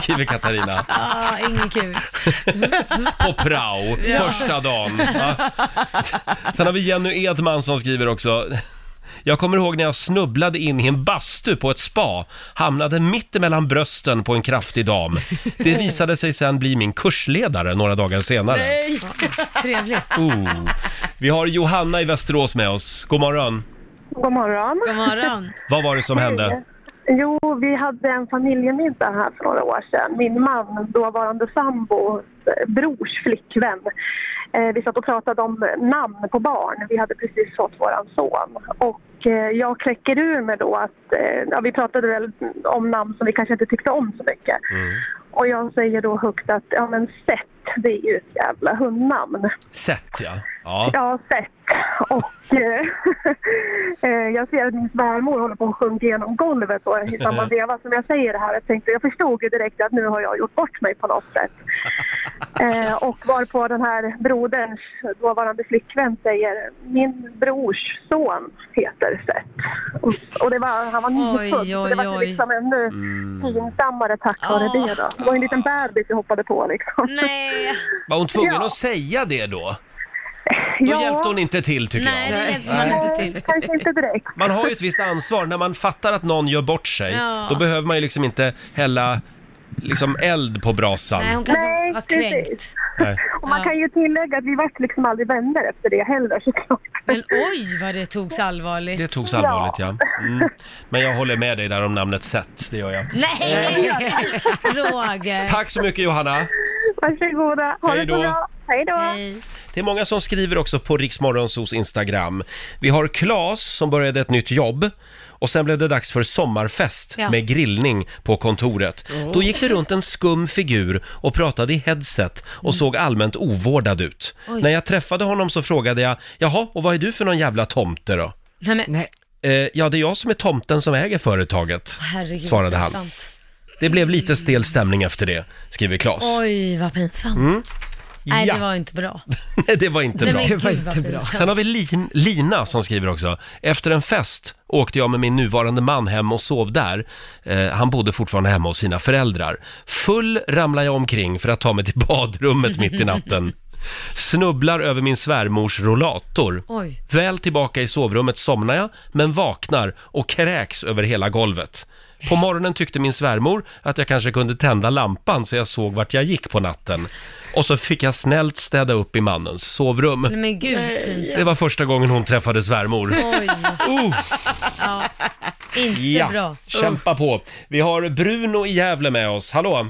A: skriver Katarina.
B: Ah, inget kul.
A: På prao,
B: Ja.
A: första dagen. Ja. Sen har vi Jenny Edman som skriver också. Jag kommer ihåg när jag snubblade in i en bastu på ett spa, hamnade mitt emellan brösten på en kraftig dam. Det visade sig sen bli min kursledare några dagar senare.
B: Nej. Trevligt.
A: Oh. Vi har Johanna i Västerås med oss. God morgon.
L: God morgon.
B: God morgon.
A: Vad var det som hände?
L: Jo, vi hade en familjemiddag här för några år sedan. Min man, dåvarande sambos eh, brors flickvän. Eh, vi satt och pratade om namn på barn. Vi hade precis fått våran son. Och eh, jag kläcker ur mig då att eh, ja, vi pratade väl om namn som vi kanske inte tyckte om så mycket.
A: Mm.
L: Och jag säger då högt att ja men Seth, det är ju ett jävla hundnamn.
A: Sett ja.
L: Ja,
A: Ja.
L: jag har sett. Och eh, eh, jag ser att min svärmor håller på att sjunka genom golvet och i samma veva som jag säger det här. Jag tänkte, jag förstod ju direkt att nu har jag gjort bort mig på något sätt. Eh, och varpå den här broderns dåvarande flickvän säger, min brors son heter Seth. Och, och det var, han var nyfödd, så det
B: oj,
L: var
B: oj.
L: ju liksom ännu
A: Mm.
L: pinsammare tack vare det då. Det var ju en liten bebis jag hoppade på liksom.
B: Nej.
A: Var hon tvungen att säga det då? Då hjälpte hon inte till tycker jag.
L: till. Kanske inte direkt.
A: Man har ju ett visst ansvar när man fattar att någon gör bort sig.
L: Ja.
A: Då behöver man ju liksom inte hälla liksom eld på brasan.
B: Nej, hon kanske
L: Nej,
B: var
L: precis.
B: kränkt.
A: Nej.
L: Och man
B: Ja.
L: kan ju tillägga att vi vart liksom aldrig vänner efter det heller såklart.
B: Men oj vad det togs allvarligt.
A: Det togs allvarligt ja. Mm. Men jag håller med dig där om namnet Seth, det gör jag.
B: Nej!
A: Eh.
B: Roger.
A: Tack så mycket Johanna!
L: Varsågoda, ha
A: Hej
L: det så
A: då.
L: bra. Hej då.
A: Det är många som skriver också på Riksmorgonsos Instagram. Vi har Klas som började ett nytt jobb och sen blev det dags för sommarfest
B: Ja.
A: med grillning på kontoret.
B: Oh.
A: Då gick det runt en skum figur och pratade i headset och såg allmänt ovårdad ut.
B: Mm. Oj.
A: När jag träffade honom så frågade jag, jaha, och vad är du för någon jävla tomte då?
B: Nej men,
A: Eh, ja, det är jag som är tomten som äger företaget,
B: herregud.
A: svarade han.
B: pinsamt.
A: Det blev lite stel stämning efter det, skriver Klas.
B: Oj vad pinsamt.
A: Mm.
B: Nej
A: Ja.
B: det var inte bra.
A: Nej, det var inte
B: Nej,
A: bra.
B: men gud, Det var inte vad bra. pinsamt.
A: Sen har vi Lin, Lina som skriver också. Efter en fest åkte jag med min nuvarande man hem och sov där. Eh, han bodde fortfarande hemma hos sina föräldrar. Full ramlade jag omkring för att ta mig till badrummet mitt i natten. Snubblar över min svärmors rollator.
B: Oj.
A: Väl tillbaka i sovrummet somnar jag, men vaknar och kräks över hela golvet. På morgonen tyckte min svärmor att jag kanske kunde tända lampan så jag såg vart jag gick på natten. Och så fick jag snällt städa upp i mannens sovrum.
B: Nej, men gud, pinsamt.
A: Det var första gången hon träffade svärmor.
B: Oj. Ja, inte bra.
A: kämpa på. Vi har Bruno i Gävle med oss. Hallå!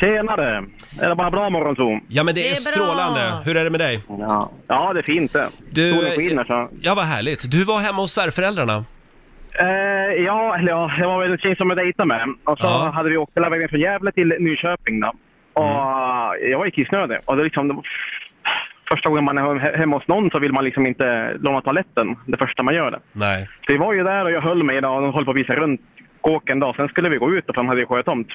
H: Tjenare! Är det bara bra morgonzon?
A: Ja, men det,
H: Det
A: är,
H: är bra.
A: strålande. Hur är det med dig?
H: Ja, ja det är fint det.
A: Du,
H: Solen skiner så.
A: Ja, vad härligt. Du var hemma hos svärföräldrarna.
H: Eh, ja, eller ja, det var väl en tjej som jag dejtade med. Och så
A: Ja.
H: hade vi åkt hela vägen från Gävle till Nyköping då. Och jag var ju kissnödig. Och det liksom, det var första gången man är he- hemma hos någon så vill man liksom inte låna toaletten det första man gör det.
A: Nej.
H: Så vi var ju där och jag höll mig då och de höll på att visa runt kåken då. Sen skulle vi gå ut då, för de hade ju sjötomt.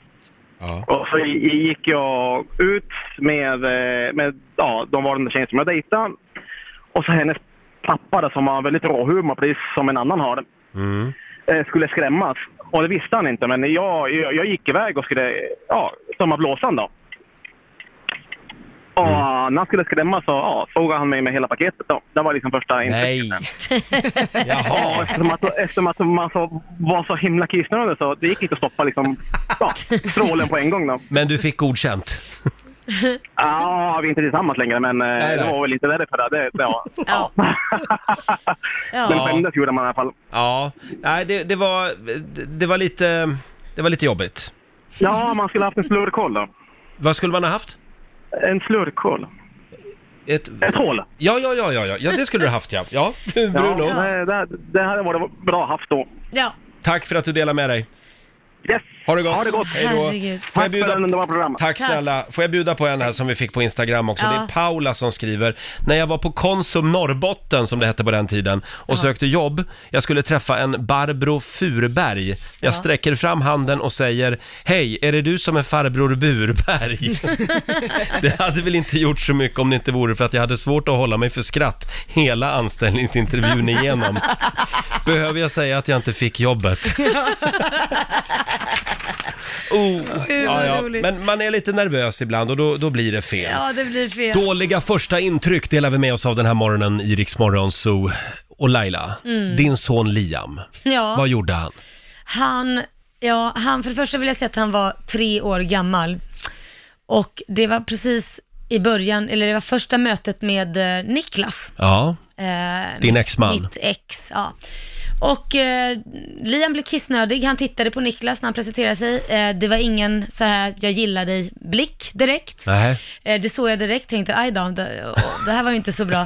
H: Och så i- gick jag ut med, eh, med ja, de var den där tjejen som jag dejtade. Och så hennes pappa då, som har väldigt rå humor, precis som en annan har det
A: Mm.
H: eh, skulle skrämmas. Och det visste han inte, men jag, jag, jag gick iväg och skulle ja, tömma blåsan då. Och när han skulle skrämmas så ja, sågade han mig med hela paketet då. Det var liksom första intrycket. Ja, eftersom att, eftersom att man så, var så himla kissnödig så det gick inte att stoppa liksom, ja, strålen på en gång då.
A: Men du fick godkänt.
H: Ja, vi är inte tillsammans längre men eh,
A: Nej, nej.
H: det var väl inte därför. Det, det, ja.
B: Ja.
H: Men skämdes gjorde man i alla fall.
A: Ja, nej det, det, var, det- det var lite, det var lite jobbigt.
H: Ja, man skulle haft en slurkoll då.
A: Vad skulle man ha haft?
H: En slurkoll.
A: Ett,
H: Ett hål.
A: Ja, ja, ja, ja, ja, ja, det skulle du haft ja. Ja, Bruno.
H: Ja, det, det, det hade varit bra haft då.
B: Ja.
A: Tack för att du delar med dig.
H: Yes.
A: Ha det gott.
H: Ha det gott.
A: Hej då.
H: Herregud.
A: Får
H: Tack
A: jag bjuda...
H: för en underbar program.
A: Tack
H: Tack.
A: snälla. Får jag bjuda på en här som vi fick på Instagram också.
H: Ja.
A: Det är Paula som skriver. När jag var på Konsum Norrbotten, som det hette på den tiden, och sökte jobb. Jag skulle träffa en Barbro Furberg. Jag
B: Ja.
A: sträcker fram handen och säger Hej, är det du som är farbror Burberg? det hade väl inte gjort så mycket om det inte vore för att jag hade svårt att hålla mig för skratt hela anställningsintervjun igenom. Behöver jag säga att jag inte fick jobbet? Oh,
B: Gud, vad roligt.
A: Men man är lite nervös ibland och då, då blir det fel.
B: ja, det blir fel.
A: Dåliga första intryck delar vi med oss av den här morgonen i Rix Morgon Zoo. Och Laila,
B: Mm.
A: din son Liam,
B: Ja.
A: vad gjorde han?
B: Han, ja, han, för det första vill jag säga att han var tre år gammal. Och det var precis i början, eller det var första mötet med eh, Niklas.
A: Ja,
B: Eh,
A: Din
B: mitt-
A: exman.
B: Mitt ex, ja. Och eh, Liam blev kissnödig, han tittade på Niklas när han presenterade sig. Eh, det var ingen så här, jag gillar dig-blick direkt.
A: Nej.
B: Eh, det såg jag direkt, tänkte aj då, det, det här var ju inte så bra.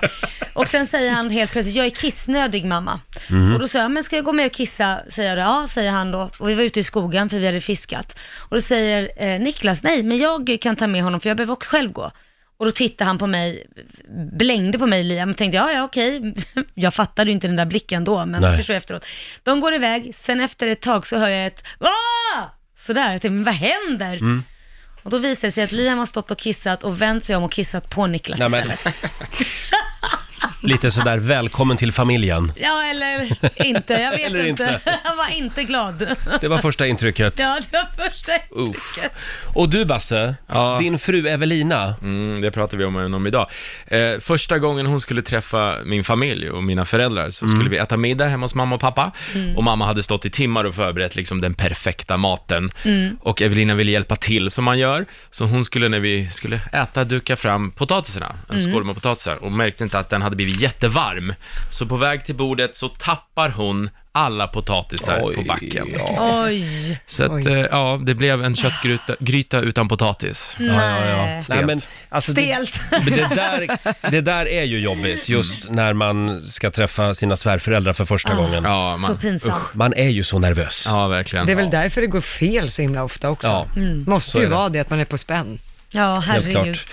B: Och sen säger han helt plötsligt, jag är kissnödig mamma.
A: Mm.
F: Mhm.
B: Och då sa jag, men ska jag gå med och kissa? Säger jag, ja, säger han då. Och vi var ute i skogen för vi hade fiskat. Och då säger eh, Niklas, nej, men jag kan ta med honom för jag behöver också själv gå. Och då tittade han på mig, blängde på mig Liam, och tänkte ja, ja okej, jag fattade ju inte den där blicken då, men
F: Nej.
B: förstår efteråt. De går iväg, sen efter ett tag så hör jag ett Aah! Sådär, jag tänkte, men vad händer?
A: Mm.
B: Och då visar det sig att Liam har stått och kissat och vänt sig om och kissat på Niklas
A: Nej, men-
B: istället.
A: Lite sådär, välkommen till familjen.
B: Ja, eller inte. Jag vet
A: Eller
B: inte.
A: inte.
B: Han var inte glad.
A: Det var första intrycket.
B: Ja, det var första
A: Usch.
B: intrycket.
A: Och du Basse, din fru Evelina.
E: Mm, det pratade vi om, om idag. Eh, första gången hon skulle träffa min familj och mina föräldrar så
A: Mm.
E: skulle vi äta middag hemma hos mamma och pappa.
M: Mm.
E: Och mamma hade stått i timmar och förberett liksom den perfekta maten.
M: Mm.
E: Och Evelina ville hjälpa till som man gör. Så hon skulle när vi skulle äta duka fram potatisarna, en
M: Mm.
E: skål med potatisar. Och märkte inte att den hade blivit jättevarm. Så på väg till bordet så tappar hon alla potatisar på backen.
B: Oj.
E: Så att, eh, ja, det blev en köttgryta gryta utan potatis.
B: Ja, ja, ja. Nej.
E: Stelt.
A: Nej, men, alltså, det-
B: Stelt.
A: Men det, där, det där är ju jobbigt, just
E: Mm.
A: när man ska träffa sina svärföräldrar för första
C: Ah,
A: gången.
E: Ja,
C: man- så pinsamt.
A: man är ju så nervös.
E: Ja, verkligen.
C: Det är väl därför det går fel så himla ofta också.
A: Ja, Mm. så
C: Måste ju
A: är det.
C: vara det, att man är på spänn.
B: Ja,
A: Helt
B: herregud.
A: klart.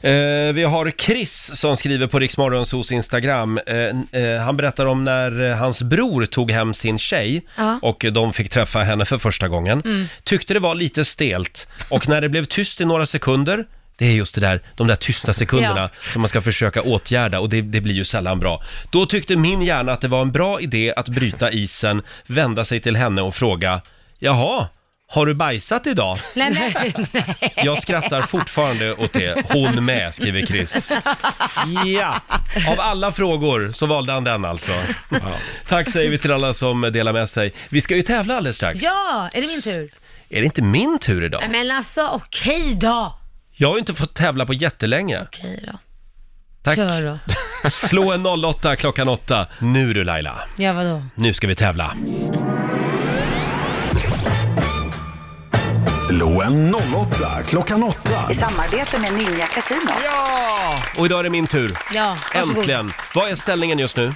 A: Eh, vi har Chris som skriver på Riksmorgonsos Instagram. Eh, n- eh, han berättar om när eh, hans bror tog hem sin tjej
B: Ja.
A: och eh, de fick träffa henne för första gången.
B: Mm.
A: Tyckte det var lite stelt och när det blev tyst i några sekunder det är just det där, de där tysta sekunderna som man ska försöka åtgärda och det, det blir ju sällan bra. Då tyckte min hjärna att det var en bra idé att bryta isen, vända sig till henne och fråga Jaha, har du bajsat idag?
B: Nej, nej.
A: Jag skrattar fortfarande åt det. Hon med, skriver Chris. Ja, av alla frågor så valde han den alltså. Tack säger vi till alla som delar med sig. Vi ska ju tävla alldeles strax.
B: Ja, är det min tur?
A: Är det inte min tur idag?
B: Nej, Men alltså okej då.
A: Jag har ju inte fått tävla på jättelänge.
B: Okej då.
A: Tack.
B: Kör då.
A: Slå en 08 klockan 8. Nu du Laila,
B: Ja, vadå?
A: nu ska vi tävla. Slå en 08 klockan 8.
G: I samarbete med Ninja Casino.
A: Ja! Och idag är det min tur.
B: Ja, varsågod.
A: Äntligen. Vad är ställningen just nu?
B: 1-1.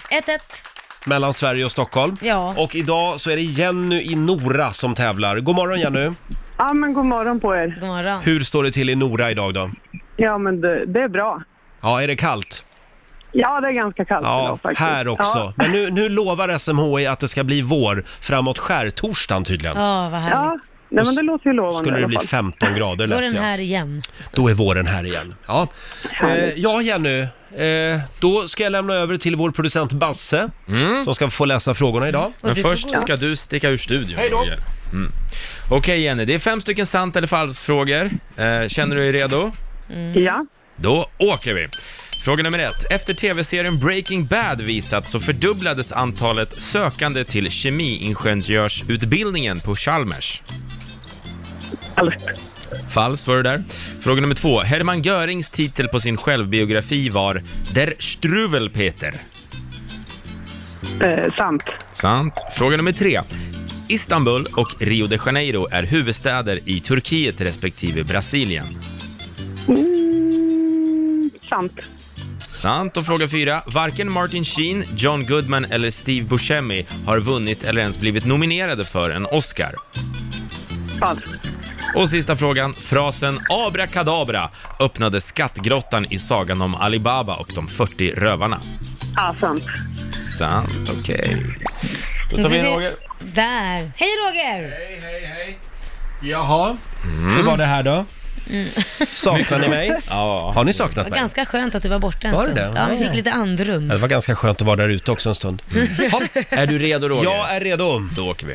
A: Mellan Sverige och Stockholm.
B: Ja.
A: Och idag så är det Jenny i Nora som tävlar. God morgon Jenny!
I: Ja, men god morgon på er.
B: God morgon.
A: Hur står det till i Nora idag då?
I: Ja, men det, det är bra.
A: Ja, är det kallt?
I: Ja, det är ganska kallt
A: Ja,
I: idag faktiskt.
A: här också.
I: Ja.
A: Men nu, nu lovar SMHI att det ska bli vår framåt skärtorsdagen tydligen.
B: Ja, vad härligt.
I: Ja, nej, men det låter ju lovande
A: Skulle
I: i
A: det
I: alla
A: bli
I: fall.
A: 15 grader
B: Då är
A: läste
B: den
A: jag.
B: här igen.
A: Då är våren här igen. Ja, eh, ja Jenny. Eh, då ska jag lämna över till vår producent Basse som ska få läsa frågorna idag.
E: Mm. Men först ska du sticka ur studion.
A: Hej då.
E: Roger. Mm. Okej Jenny, det är fem stycken sant eller falskt-frågor. Eh, känner du dig redo?
B: Mm.
I: Ja.
E: Då åker vi! Fråga nummer ett. Efter tv-serien Breaking Bad visat så fördubblades antalet sökande till kemiingenjörsutbildningen på Chalmers. Falskt var det där. Fråga nummer två. Hermann Görings titel på sin självbiografi var Der Struwelpeter.
I: Eh, sant.
E: Sant. Fråga nummer tre. Istanbul och Rio de Janeiro är huvudstäder i Turkiet respektive Brasilien.
I: Mm, sant.
E: Sant. Och fråga fyra. Varken Martin Sheen, John Goodman eller Steve Buscemi har vunnit eller ens blivit nominerade för en Oscar.
I: Falskt.
E: Och sista frågan. Frasen abrakadabra öppnade skattgrottan i sagan om Alibaba och de 40 rövarna.
I: Ja, sant.
E: Sant. Okej. Då tar vi in Roger.
B: Där. Hej Roger!
A: Hej, hej, hej. Jaha,
E: Mm.
A: hur var det här då? Saknar ni mig?
E: Ja.
A: Har ni
B: Mm. Det
A: saknat
B: var
A: mig?
B: ganska skönt att du var borta en
A: Var det
B: stund.
A: det?
B: Ja, vi
A: Ja.
B: fick lite andrum.
A: Ja, Det var ganska skönt att vara där ute också en stund.
E: Mm. Är du redo Roger?
A: Jag är redo.
E: Då åker vi.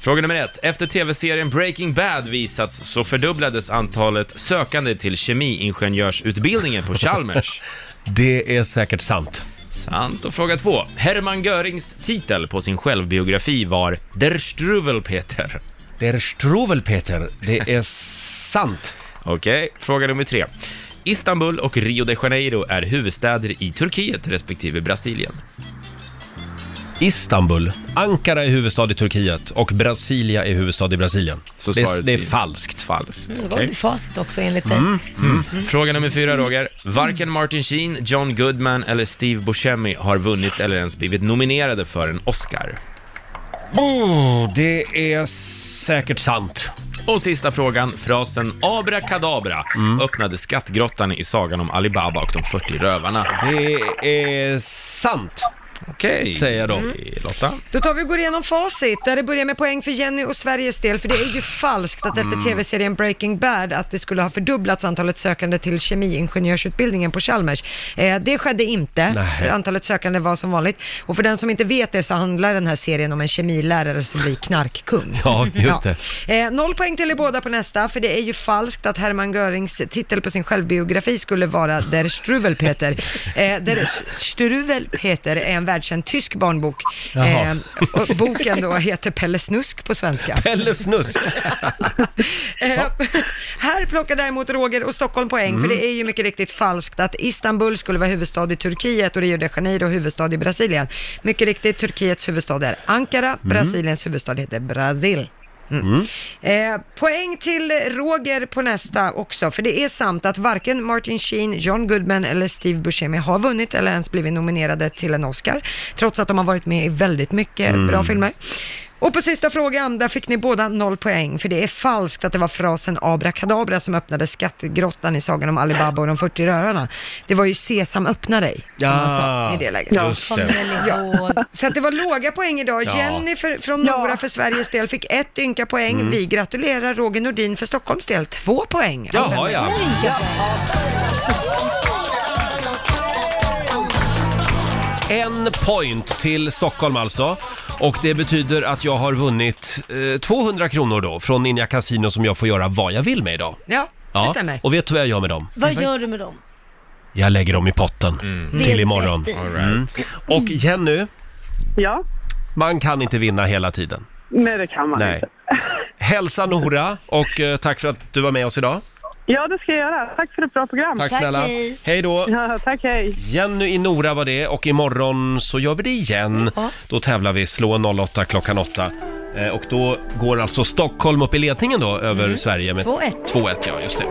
E: Fråga nummer ett. Efter tv-serien Breaking Bad visats så fördubblades antalet sökande till kemiingenjörsutbildningen på Chalmers.
A: Det är säkert sant.
E: Sant. Och fråga två. Hermann Görings titel på sin självbiografi var Der Struwelpeter.
A: Det är Struvel Peter, det är sant.
E: Okej, fråga nummer tre. Istanbul och Rio de Janeiro är huvudstäder i Turkiet respektive Brasilien.
A: Istanbul, Ankara är huvudstad i Turkiet och Brasilia är huvudstad i Brasilien.
E: Så
A: det, är,
E: svaret
A: det är
E: blir-
A: falskt.
E: Falskt.
B: Mm, Det var
E: Okej.
B: ju facit också enligt dig.
E: Mm. Mm. Fråga nummer fyra, Roger. Varken Martin Sheen, John Goodman eller Steve Buscemi har vunnit eller ens blivit nominerade för en Oscar.
A: Oh, det är säkert sant.
E: Och sista frågan, frasen abrakadabra
A: Mm.
E: öppnade skattgrottan i sagan om Alibaba och de 40 rövarna.
A: Det är sant.
E: Okej. Mm.
A: Säger jag då.
E: Lotta?
C: Då tar vi och går igenom facit, där det börjar med poäng för Jenny och Sveriges del, för det är ju falskt att
A: Mm.
C: efter tv-serien Breaking Bad att det skulle ha fördubblats antalet sökande till kemiingenjörsutbildningen på Chalmers. Eh, det skedde inte,
F: Nej.
C: antalet sökande var som vanligt. Och för den som inte vet det så handlar den här serien om en kemilärare som blir knarkkung.
A: Ja, just
C: Ja.
A: det.
C: Eh, noll poäng till er båda på nästa, för det är ju falskt att Hermann Görings titel på sin självbiografi skulle vara Der Struwelpeter. Eh, Der Struwelpeter är en världskänd tysk barnbok.
A: Jaha.
C: Eh, och boken då heter Pelle Snusk på svenska.
A: Pelle Snusk.
C: Eh, här plockar däremot Roger och Stockholm poäng,
F: Mm.
C: för det är ju mycket riktigt falskt att Istanbul skulle vara huvudstad i Turkiet och Rio de Janeiro huvudstad i Brasilien. Mycket riktigt, Turkiets huvudstad är Ankara,
A: Mm.
C: Brasiliens huvudstad heter Brasil.
M: Mm.
C: Eh, poäng till Roger på nästa också, för det är sant att varken Martin Sheen, John Goodman eller Steve Buscemi har vunnit eller ens blivit nominerade till en Oscar, trots att de har varit med i väldigt mycket
F: Mm.
C: bra filmer. Och på sista frågan, där fick ni båda noll poäng, för det är falskt att det var frasen abrakadabra som öppnade skattegrottan i sagan om Alibaba och de 40 rörarna. Det var ju sesam öppna dig, som
F: Ja,
C: man sa i det läget.
F: just det. Kommer väl
C: Ja. Så att det var låga poäng idag.
F: Ja.
C: Jenny för, från Nora för Sveriges del fick ett ynka poäng.
F: Mm.
C: Vi gratulerar Roger Nordin för Stockholms del, två poäng. Alltså,
F: Jaha, ja.
C: Två ynka poäng.
A: En point till Stockholm alltså. Och det betyder att jag har vunnit eh, 200 kronor då från Ninja Casino som jag får göra vad jag vill med idag.
C: Ja, det stämmer.
A: Och vet du vad jag gör med dem?
B: Vad gör du med dem?
A: Jag lägger dem i potten
B: Mm. Det är
A: till imorgon.
B: rätt. All
A: Mm. Och Jenny?
F: Ja?
A: Man kan inte vinna hela tiden.
F: Nej, det kan man
A: Nej.
F: inte.
A: Hälsa Nora och eh, tack för att du var med oss idag.
F: Ja, det ska jag göra. Tack för ett bra program.
A: Tack snälla. Hej då.
F: Ja, tack, hej.
A: Jenny i Nora var det och imorgon så gör vi det igen. Då tävlar vi Slå 08 klockan 8. Eh, Och då går alltså Stockholm upp i ledningen då över
F: Mm.
A: Sverige med
B: 2-1.
A: 2-1. ja just det.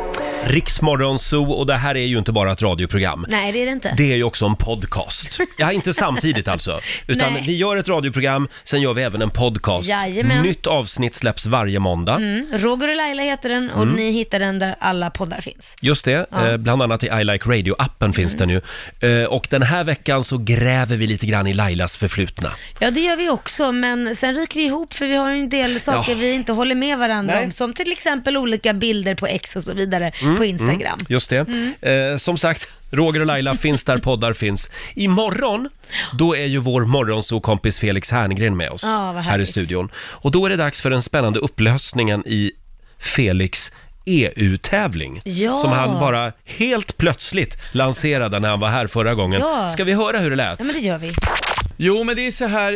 A: Riksmorgonzoo och det här är ju inte bara ett radioprogram.
B: Nej, det är det inte.
A: Det är ju också en podcast. Ja, inte samtidigt alltså. Utan
B: Nej.
A: vi gör ett radioprogram, sen gör vi även en podcast.
B: Jajamän.
A: Nytt avsnitt släpps varje måndag.
B: Mm. Roger och Laila heter den och
A: Mm.
B: ni hittar den där alla poddar finns.
A: Just det,
B: Ja. Mm.
A: eh, bland annat i I Like Radio-appen finns den ju. Eh, och den här veckan så gräver vi lite grann i Lailas förflutna.
B: Ja, det gör vi också, men sen ryker vi ihop för vi har ju en del saker
A: Ja.
B: vi inte håller med varandra
A: Nej.
B: om, som till exempel olika bilder på ex och så vidare på Instagram.
A: Mm, just det. Eh, som sagt, Roger och Laila finns där poddar finns. Imorgon, då är ju vår morgonsokompis Felix Herngren med oss
B: Ja, vad
A: här i
B: härligt.
A: studion. Och då är det dags för den spännande upplösningen i Felix EU-tävling
B: Ja.
A: som han bara helt plötsligt lanserade när han var här förra gången.
B: Ja.
A: Ska vi höra hur det lät?
B: Ja, men det gör vi.
M: Jo, men det är så här,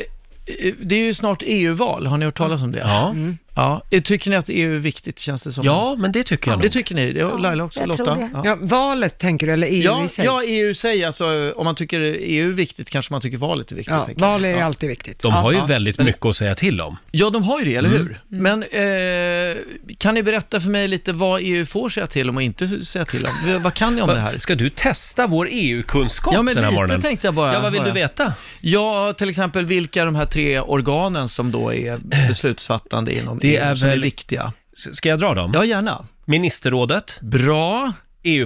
M: eh, det är ju snart EU-val, har ni hört talas om det?
A: Ja.
C: Mm.
M: ja. eh, Tycker ni att EU är viktigt, känns det som?
A: Ja, men det tycker jag nog.
M: Det tycker ni, det och Laila också, Lotta?
C: Ja.
M: Ja.
C: valet tänker du, eller EU
M: Ja,
C: i sig?
M: ja, EU säger alltså, om man tycker EU är viktigt kanske man tycker valet är viktigt.
C: Ja,
M: tänker jag.
C: val är ju
M: Ja.
C: alltid viktigt.
A: De har ju
M: Ja.
A: väldigt mycket att säga till om.
M: Ja, de har ju det, eller
A: Mm.
M: hur? Men eh, kan ni berätta för mig lite vad EU får säga till om och inte säga till om? V- Vad kan ni om
A: Va-
M: det här?
A: Ska du testa vår EU-kunskap
M: ja, men
A: den här
M: lite
A: morgonen?
M: tänkte jag bara.
A: Ja, vad vill
M: bara.
A: du veta?
M: Ja, till exempel vilka de här tre organen som då är beslutsfattande inom
A: Eh. Det
M: EU
A: är
M: som är
A: väl-
M: viktiga.
A: S- Ska jag dra dem?
M: Ja, gärna.
A: Ministerrådet. E
M: Bra.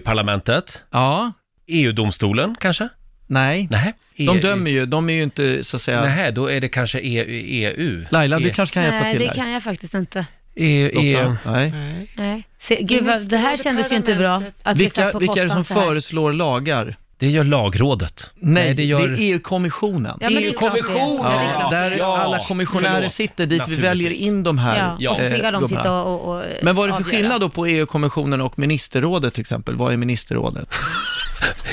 A: EU-parlamentet.
M: Ja.
A: EU-domstolen E kanske?
M: Nej.
A: Nej. E
M: De dömer ju, de är ju inte så att säga...
A: Nej, då är det kanske E-, EU. EU.
M: Laila, du kanske kan hjälpa
B: Nej,
M: till
B: det
M: där.
B: kan jag faktiskt inte.
A: EU, EU.
M: Nej.
B: Nej. Se, gud, vad, det här kändes ju inte bra. Att vi satt
M: Vilka,
B: på
M: vilka är det
B: pottan
M: som
B: så här.
M: föreslår lagar?
A: Det gör lagrådet.
M: Nej,
A: Nej, det
M: det,
A: gör-
M: är EU-kommissionen.
B: Ja, men det är klart det är. Ja, det är
M: Ja,
B: klart det är.
M: där alla kommissionärer
B: Förlåt.
M: sitter dit vi väljer in de här
B: Ja, och så
M: eh,
B: ska de sitta
M: gubbarna.
B: och, och, och
M: Men vad är det för
B: avgöra.
M: skillnad då på EU-kommissionen och ministerrådet till exempel? Vad är ministerrådet?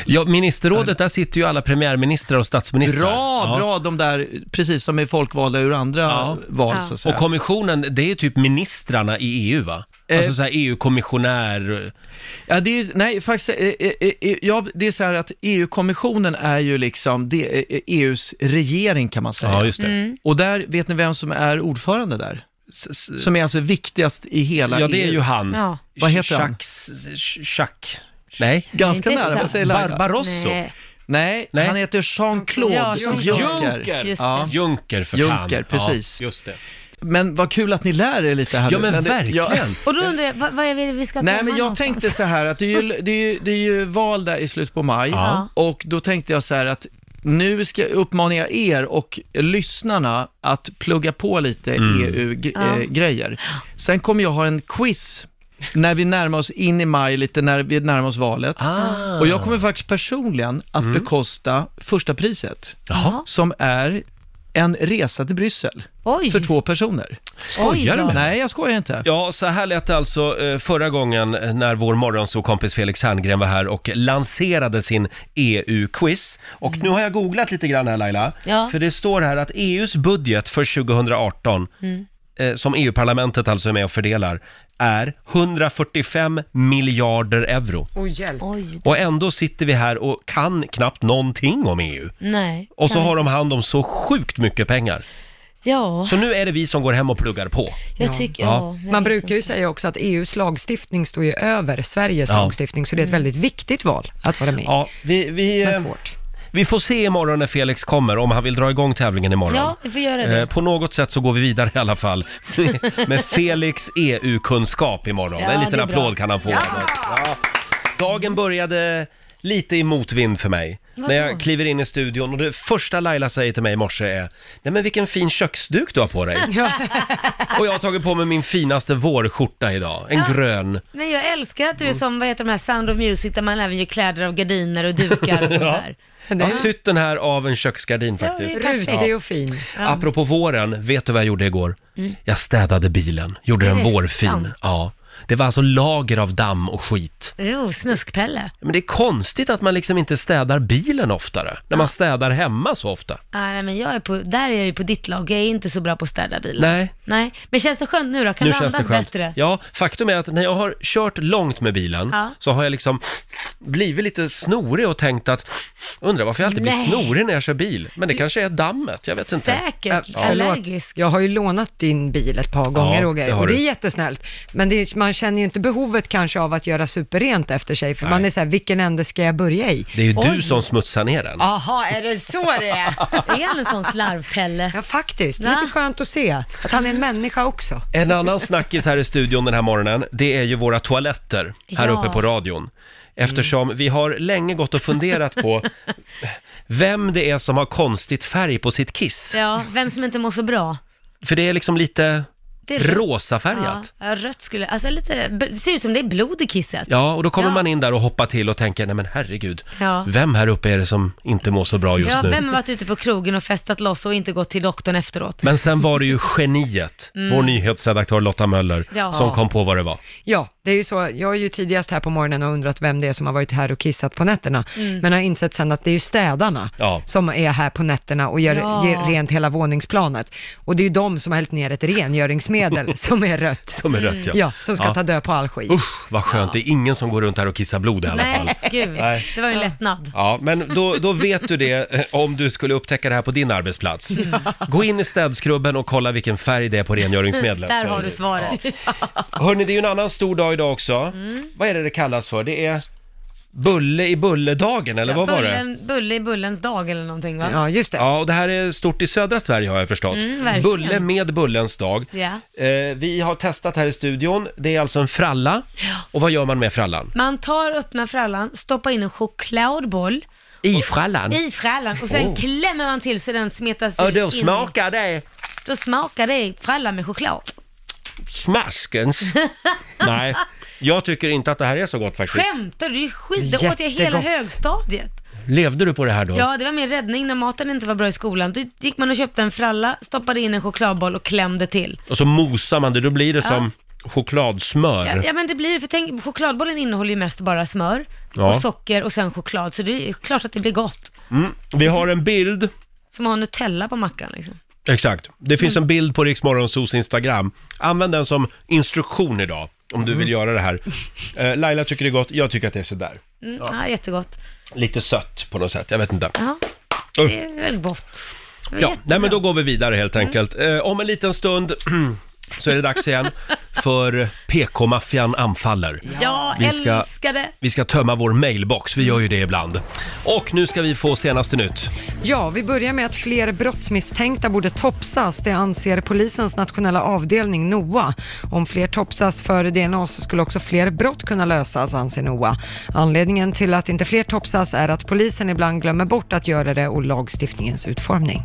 A: Ja, ministerrådet, där sitter ju alla premiärministrar och statsministrar.
M: Bra,
A: Ja.
M: bra, de där, precis som är folkvalda ur andra val så att säga.
A: Och kommissionen, det är typ ministrarna i EU va? Alltså så här EU-kommissionär...
M: Eh, Ja, det är, nej, faktiskt, eh, eh, eh, ja, det är så här att EU-kommissionen är ju liksom det, eh, eh, EUs regering kan man säga.
A: Ja, just det. Mm.
M: Och där, vet ni vem som är ordförande där? Som är alltså viktigast i hela EU.
A: Ja, det är ju han. Ja.
M: Vad heter han?
A: Schack. Nej.
M: Ganska
A: Inte
M: nära, vad
A: Jacques.
M: säger Laila?
A: Barbarosso. Nej.
M: Nej, han heter Jean-Claude
A: Ja,
M: Juncker.
A: Juncker.
M: Just
A: Ja.
M: det.
A: Juncker för fan.
M: Juncker, precis.
A: Ja, just det.
M: Men vad kul att ni lär er lite här
A: Ja,
M: nu.
A: men
M: det- jag-
A: verkligen.
B: Och då undrar jag, vad, vad är det vi ska
M: Nej,
B: komma
M: men jag
B: någonstans?
M: tänkte så här att det är, ju, det, är ju, det är ju val där i slutet på maj
B: Ja.
M: och då tänkte jag så här att nu ska uppmanar jag er och lyssnarna att plugga på lite E
A: Mm.
B: Ja.
M: EU-grejer. eh, Sen kommer jag ha en quiz när vi närmar oss in i maj, lite när vi närmar oss valet.
A: Ah. Mm.
M: Och jag kommer faktiskt personligen att bekosta första priset,
A: Jaha.
M: som är en resa till Bryssel för två personer.
A: Skojar du med
M: Nej, jag skojar inte.
A: Ja, så här lät det alltså eh, förra gången när vår morgonsåkompis Felix Herngren var här och lanserade sin EU-quiz. Och nu har jag googlat lite grann här Laila,
B: Ja.
A: för det står här att EUs budget för 2018,
B: Mm.
A: eh, som EU-parlamentet alltså är med och fördelar, är 145 miljarder euro.
C: Oj, hjälp.
A: Och ändå sitter vi här och kan knappt någonting om EU.
B: Nej.
A: Och så
B: nej.
A: har de hand om så sjukt mycket pengar.
B: Ja,
A: Så nu är det vi som går hem och pluggar på.
B: jag tycker... Ja.
C: Man brukar ju säga också att EUs lagstiftning står ju över Sveriges
A: Ja.
C: lagstiftning, så det är
B: Mm.
C: ett väldigt viktigt val att vara med i.
A: Ja, vi, vi,
C: Men
A: eh,
C: svårt.
A: vi får se imorgon när Felix kommer, om han vill dra igång tävlingen imorgon.
B: Ja, vi får göra det.
A: Eh, På något sätt så går vi vidare i alla fall med Felix EU-kunskap imorgon.
B: Ja,
A: en
B: det
A: liten
B: är bra.
A: applåd kan han få av oss. Ja. Dagen började lite i motvind för mig. när jag kliver in i studion och det första Laila säger till mig i morse är Nej men vilken fin köksduk du har på dig. Och jag har tagit på mig min finaste vårskjorta idag, en
B: Ja.
A: grön.
B: Men jag älskar att du är som, vad heter de här, Sound of Music, där man även gör kläder av gardiner och dukar och sånt
A: Ja.
B: där.
A: Jag har sytt den här av en köksgardin faktiskt.
C: Rutig och fin.
A: Ja. Apropå våren, vet du vad jag gjorde igår?
C: Mm.
A: Jag städade bilen, gjorde
B: Är
A: den
B: det sant?
A: vårfin. Ja. Det var alltså lager av damm och skit.
B: Jo, snuskpelle.
A: Men det är konstigt att man liksom inte städar bilen oftare, när man städar hemma så ofta.
B: Ah, nej, men jag är på, där är jag ju på ditt lag, jag är inte så bra på att städa bilen.
A: Nej.
B: Nej, men känns det skönt nu då? Kan
A: nu
B: du
A: känns det
B: andas
A: skönt.
B: bättre?
A: Ja, faktum är att när jag har kört långt med bilen
B: Ja.
A: så har jag liksom blivit lite snorig och tänkt att undrar varför jag alltid
C: Nej.
A: blir snorig när jag kör bil. Men det kanske är dammet, jag vet inte.
C: Äh, Förlåt, jag har ju lånat din bil ett par gånger Roger,
A: det har
C: och det är
A: du.
C: jättesnällt. Men det är, man känner ju inte behovet kanske av att göra superrent efter sig, för man är så här, vilken ände ska jag börja i?
A: Det är ju
C: Oj.
A: du som smutsar ner den.
C: Jaha, är det så det är?
B: Är han en sån slarvpelle?
C: Ja, faktiskt. Lite skönt att se att han är en människa också.
A: En annan snackis här i studion den här morgonen, det är ju våra toaletter här
C: Ja.
A: uppe på radion. Eftersom
B: Mm.
A: vi har länge gått och funderat på vem det är som har konstigt färg på sitt kiss.
B: Ja, vem som inte mår så bra.
A: För det är liksom lite
B: Det är rött.
A: rosafärgat.
B: Ja, ja, rött skulle, alltså lite, det ser ut som det är blod i kisset.
A: Ja, och då kommer
B: Ja.
A: man in där och hoppar till och tänker, nej men herregud,
B: Ja.
A: vem här uppe är det som inte mår så bra just
B: ja,
A: nu?
B: vem har varit ute på krogen och festat loss och inte gått till doktorn efteråt?
A: Men sen var det ju geniet,
C: Mm.
A: vår nyhetsredaktör Lotta Möller,
C: Ja.
A: som kom på vad det var.
C: Ja, det är ju så. Jag är ju tidigast här på morgonen och undrat vem det är som har varit här och kissat på nätterna.
B: Mm.
C: Men har insett sen att det är ju städarna
A: Ja.
C: som är här på nätterna och gör,
B: Ja.
C: ger rent hela våningsplanet. Och det är ju de som har hällt ner ett rengöringsmedel som är rött.
A: Som är rött, ja.
C: Ja, som ska
A: Ja.
C: ta död på all skit.
A: Usch, vad skönt, det är ingen som går runt här och kissar blod i alla fall.
B: Nej, gud.
A: Nej.
B: Det var ju en lättnad.
A: Ja, men då, då vet du det eh, om du skulle upptäcka det här på din arbetsplats. Gå in i städskrubben och kolla vilken färg det är på rengöringsmedlet.
B: Där har du svaret.
A: Hörni, det är ju en annan stor dag idag också.
B: Mm.
A: Vad är det det kallas för? Det är bulle i bulledagen, eller vad var det?
B: Bullen, bulle i bullens dag eller någonting va?
C: just det.
A: Ja, och det här är stort i södra Sverige har jag förstått.
B: Mm, verkligen.
A: Bulle med bullens dag.
B: Ja.
A: Eh, vi har testat här i studion. Det är alltså en fralla. Och vad gör man med frallan?
B: Man tar öppna frallan, stoppar in en chokladboll
A: I frallan?
B: i frallan och sen
A: Oh.
B: klämmer man till så den smetas
A: Och
B: ut
A: då
B: in i-
A: smakar det
B: Då smakar det fralla med choklad.
A: smaskens. Nej, jag tycker inte att det här är så gott faktiskt.
B: Skämtar du? Det är ju skit. Det åt jag hela
A: Jättegott.
B: högstadiet.
A: Levde du på det här då?
B: Ja, det var min räddning när maten inte var bra i skolan. Då gick man och köpte en fralla, stoppade in en chokladboll och klämde till.
A: Och så mosar man det, då blir det
B: Ja.
A: som chokladsmör.
B: Ja, ja men det blir, för tänk, chokladbollen innehåller ju mest bara smör
A: Ja.
B: och socker och sen choklad, så det är klart att det blir gott.
A: Mm. Vi har en bild,
B: Som att ha Nutella på mackan liksom.
A: exakt. Det finns
B: Mm.
A: en bild på Riksmorgonsos Instagram. Använd den som instruktion idag, om du vill göra det här. Eh, Laila tycker det är gott, jag tycker att det är sådär.
B: Mm, ja. jättegott.
A: Lite sött på något sätt, jag vet inte.
B: Ja,
A: Uh.
B: det är Mm. väl gott. Det är
A: Ja,
B: jätte-
A: nej men då går vi vidare helt enkelt. Eh, om en liten stund så är det dags igen för PK-maffian anfaller.
B: Jag
A: Vi ska-
B: älskar det.
A: Vi ska tömma vår mailbox, vi gör ju det ibland. Och nu ska vi få senaste nytt.
C: Ja, vi börjar med att fler brottsmisstänkta borde topsas. Det anser polisens nationella avdelning NOA. Om fler topsas för DNA så skulle också fler brott kunna lösas, anser NOA. Anledningen till att inte fler topsas är att polisen ibland glömmer bort att göra det och lagstiftningens utformning.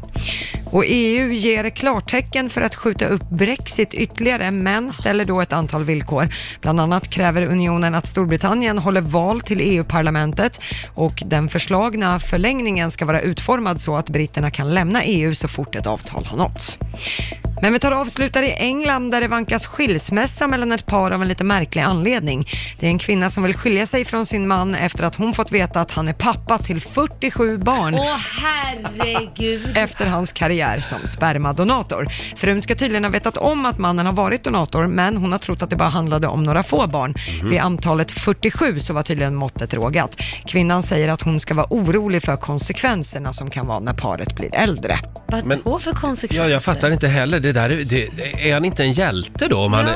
C: Och EU ger klartecken för att skjuta upp Brexit ytterligare, men ställer då ett antal villkor. Bland annat kräver unionen att Storbritannien håller val till EU-parlamentet och den förslagna förlängningen ska vara utformad så att britterna kan lämna EU så fort ett avtal har nåtts. Men vi tar och avslutar i England där det vankas skilsmässa mellan ett par av en lite märklig anledning. Det är en kvinna som vill skilja sig från sin man efter att hon fått veta att han är pappa till 47 barn
B: Åh herregud.
C: efter hans karriär som spermadonator. Frun ska tydligen ha vetat om att mannen har varit donator, men hon har trott att det bara handlade om några få barn.
N: Mhm.
C: Vid antalet 47 så var tydligen måttet rågat. Kvinnan säger att hon ska vara orolig för konsekvenserna som kan vara när paret blir äldre.
B: Vadå för konsekvenser?
A: Ja, jag fattar inte heller. Det där, är- det, är han inte en hjälte då om han eh,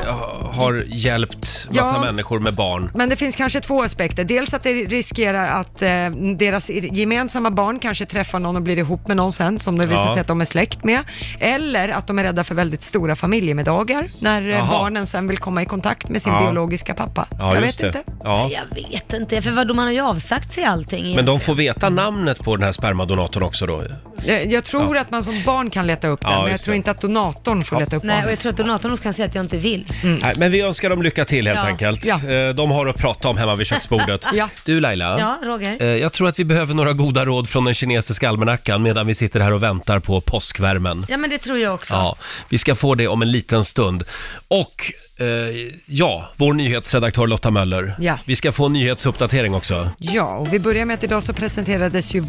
A: har hjälpt massa
C: Ja.
A: människor med barn?
C: Men det finns kanske två aspekter. Dels att det riskerar att eh, deras i- gemensamma barn kanske träffar någon och blir ihop med någon sen som det visar
N: Ja.
C: sig att de är släkt med. Eller att de är rädda för väldigt stora familjemiddagar när eh,
B: Jaha.
C: barnen sen vill komma i kontakt med sin
A: Ja.
C: biologiska pappa. jag vet inte.
A: Ja.
B: Jag vet inte, för vadå, man har ju avsagt sig allting.
A: Men de får veta namnet på den här spermadonatorn också då?
C: Jag, jag tror att man som barn kan leta upp den,
A: Ja,
C: men jag
A: just
C: tror
A: det.
C: inte att donatorn får leta upp
B: Nej, och
C: barnet.
B: jag tror att donatorn nog kan säga att jag inte vill.
A: Nej, men vi önskar dem lycka till helt
B: Ja.
A: enkelt.
B: Ja.
A: Eh, De har att prata om hemma vid köksbordet.
B: Ja.
A: Du Laila,
B: Ja, Roger.
A: eh, jag tror att vi behöver några goda råd från den kinesiska almanackan medan vi sitter här och väntar på påskvärmen.
B: Ja, men det tror jag också.
A: Ja, vi ska få det om en liten stund. Och eh, ja, vår nyhetsredaktör Lotta Möller.
C: Ja.
A: Vi ska få en nyhetsuppdatering också.
C: Ja, och vi börjar med att idag så presenterades ju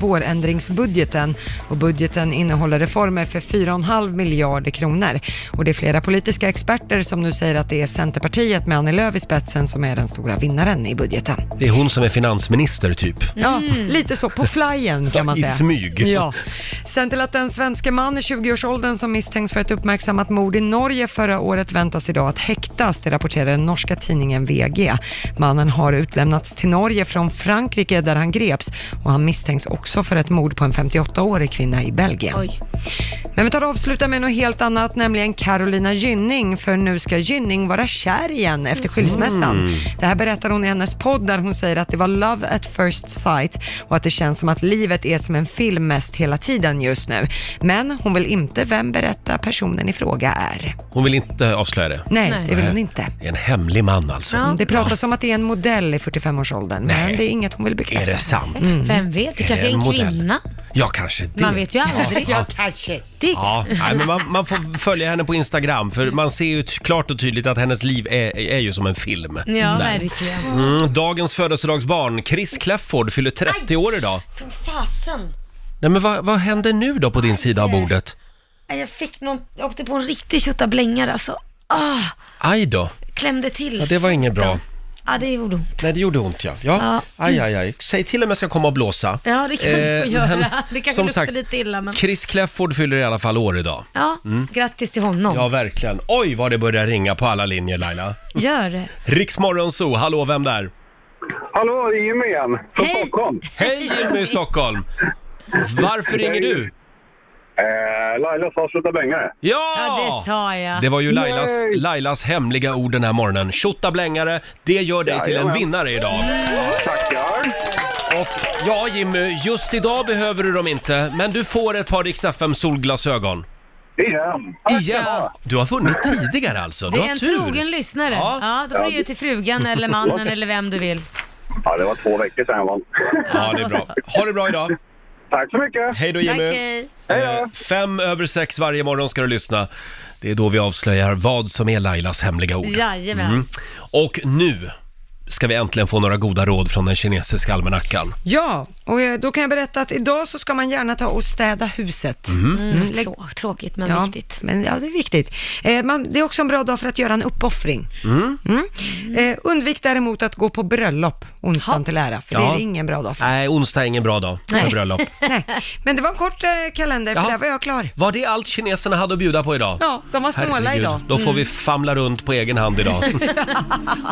C: vårändringsbudgeten och budgeten innehåller reformer för 4,5 miljarder kronor. Och det är flera politiska experter som nu säger att det är Centerpartiet med Annie Lööf i spetsen som är den stora vinnaren i budgeten.
A: Det är hon som är finansminister typ.
C: Ja, lite så, på flyen kan man
A: I
C: säga.
A: smyg.
C: Ja. Sen till att en svenske man i 20-årsåldern som misstänks för ett uppmärksammat mord i Norge förra året väntas idag att häktas, det rapporterar den norska tidningen VG. Mannen har utlämnats till Norge från Frankrike där han greps och han misstänks också för ett mord på en 58-årig kvinna i Belgien. Men vi tar och avslutar med något helt annat, nämligen Carolina Gynning, för nu ska Gynning vara kär igen efter skilsmässan.
N: Mm.
C: Det här berättar hon i hennes podd där hon säger att det var love at first sight och att det känns som att livet är som en film mest hela tiden just nu. Men hon vill inte vem berätta personen i fråga är.
A: Hon vill inte avslöja det.
C: Nej, det vill hon inte.
A: Det är en hemlig man alltså.
C: Mm, Det pratas om att det är en modell i 45-årsåldern, men det är inget hon vill bekräfta. Mm.
A: Är det sant?
B: Vem vet, det
A: Är
B: kanske är
A: det
B: en
A: en modell?
B: kvinna.
A: Ja, kanske det.
B: Mm. Man vet ju aldrig.
A: Ja,
C: kanske
A: Ja, nej, men man, man får följa henne på Instagram för man ser ju t- klart och tydligt att hennes liv är, är ju som en film.
B: Ja,
A: Där.
B: verkligen.
A: Mm, dagens födelsedagsbarn, Chris Clefford, fyller 30 år idag.
B: Som fasen.
A: Nej men vad, vad händer nu då på din sida av bordet?
B: Nej, Jag fick någon, jag åkte på en riktig tjottablängare alltså. Ah,
A: Aj då.
B: klämde till.
A: Ja, det var inget bra.
B: Ja, det gjorde ont.
A: Nej, det gjorde ont ja. ja. Aj, aj, aj. Säg till om jag ska komma och blåsa.
B: Ja, det kan du få
A: Eh,
B: göra.
A: men
B: det kanske
A: som
B: luktar
A: sagt,
B: lite illa, men...
A: Chris Clefford fyller i alla fall år idag.
B: Ja,
A: Mm.
B: grattis till honom.
A: Ja, verkligen. Oj, vad det börjar ringa på alla linjer, Laila.
B: Gör det.
A: Riksmorgonzoo, hallå, vem där?
O: Hallå, det är Jimmy igen från Stockholm.
A: Hej Jimmy i Stockholm! Varför ringer du?
O: Eh, Laila sa sluta blängare.
A: Ja!
B: Ja, det sa jag.
A: Det var ju Lailas,
O: Nej.
A: Lailas hemliga ord den här morgonen. Tjottablängare, det gör dig till en
O: Jajamän.
A: vinnare idag.
O: Tackar.
A: Och ja Jimmy, just idag behöver du dem inte, men du får ett par Rix FM solglasögon.
O: Igen.
A: Igen? Du har vunnit tidigare alltså,
B: Det
A: du
B: är
A: har
B: en
A: tur.
B: trogen lyssnare.
A: Ja.
B: Ja. då får du ge det till frugan eller mannen eller vem du vill.
O: Ja, det var två veckor sedan jag vann.
A: Ja, det är bra. Ha det bra idag.
O: Tack så mycket.
A: Hej då Jimmy.
B: Tack, hej.
A: Eh, Fem över sex varje morgon ska du lyssna. Det är då vi avslöjar vad som är Lailas hemliga ord.
B: Jajamän.
A: Mm. Och nu ska vi äntligen få några goda råd från den kinesiska almanackan.
C: Ja, och eh, då kan jag berätta att idag så ska man gärna ta och städa huset.
A: Mhm.
B: Mm, trå- tråkigt men
C: ja,
B: viktigt.
C: Men, ja, det är viktigt. Eh, man, det är också en bra dag för att göra en uppoffring.
A: Mm.
C: Mm. Eh, undvik däremot att gå på bröllop onsdagen till ära, för det
A: Ja.
C: är ingen bra dag för.
A: Nej, onsdag är ingen bra dag för bröllop.
C: Nej. Men det var en kort eh, kalender, för där var jag klar.
A: Var det allt kineserna hade att bjuda på idag?
C: Ja, de var snåla
A: Herregud,
C: idag.
A: Då får
C: Mm.
A: vi famla runt på egen hand idag.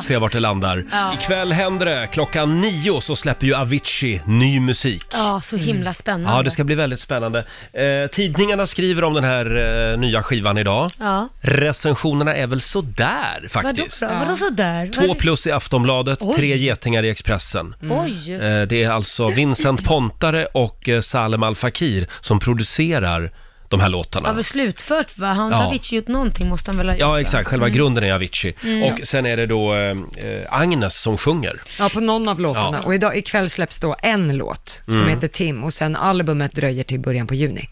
A: Se vart det landar.
B: Ja.
A: Ikväll händer det. Klockan nio så släpper ju Avicii ny musik.
B: Ja, så himla
C: Mm.
B: spännande.
A: Ja, det ska bli väldigt spännande. Eh, tidningarna skriver om den här eh, nya skivan idag.
B: Ja.
A: Recensionerna är väl sådär faktiskt.
B: Vadå, bra? Vadå sådär?
A: Två plus i Aftonbladet,
B: Oj.
A: tre getingar i Expressen.
B: Mm. Oj.
A: Eh, Det är alltså Vincent Pontare och eh, Salem Al Fakir som producerar de här
B: Har
A: låtarna.
B: väl slutfört va? Har inte
A: Ja.
B: Avicii gjort någonting måste han väl ha gjort?
A: Ja,
B: va?
A: exakt. Själva
B: Mm.
A: grunden är Avicii.
B: Mm.
A: Och sen är det då eh, eh, Agnes som sjunger.
C: Ja, på någon av låtarna.
A: Ja.
C: Och idag, ikväll släpps då en låt som
A: Mm.
C: heter Tim och sen albumet dröjer till början på juni.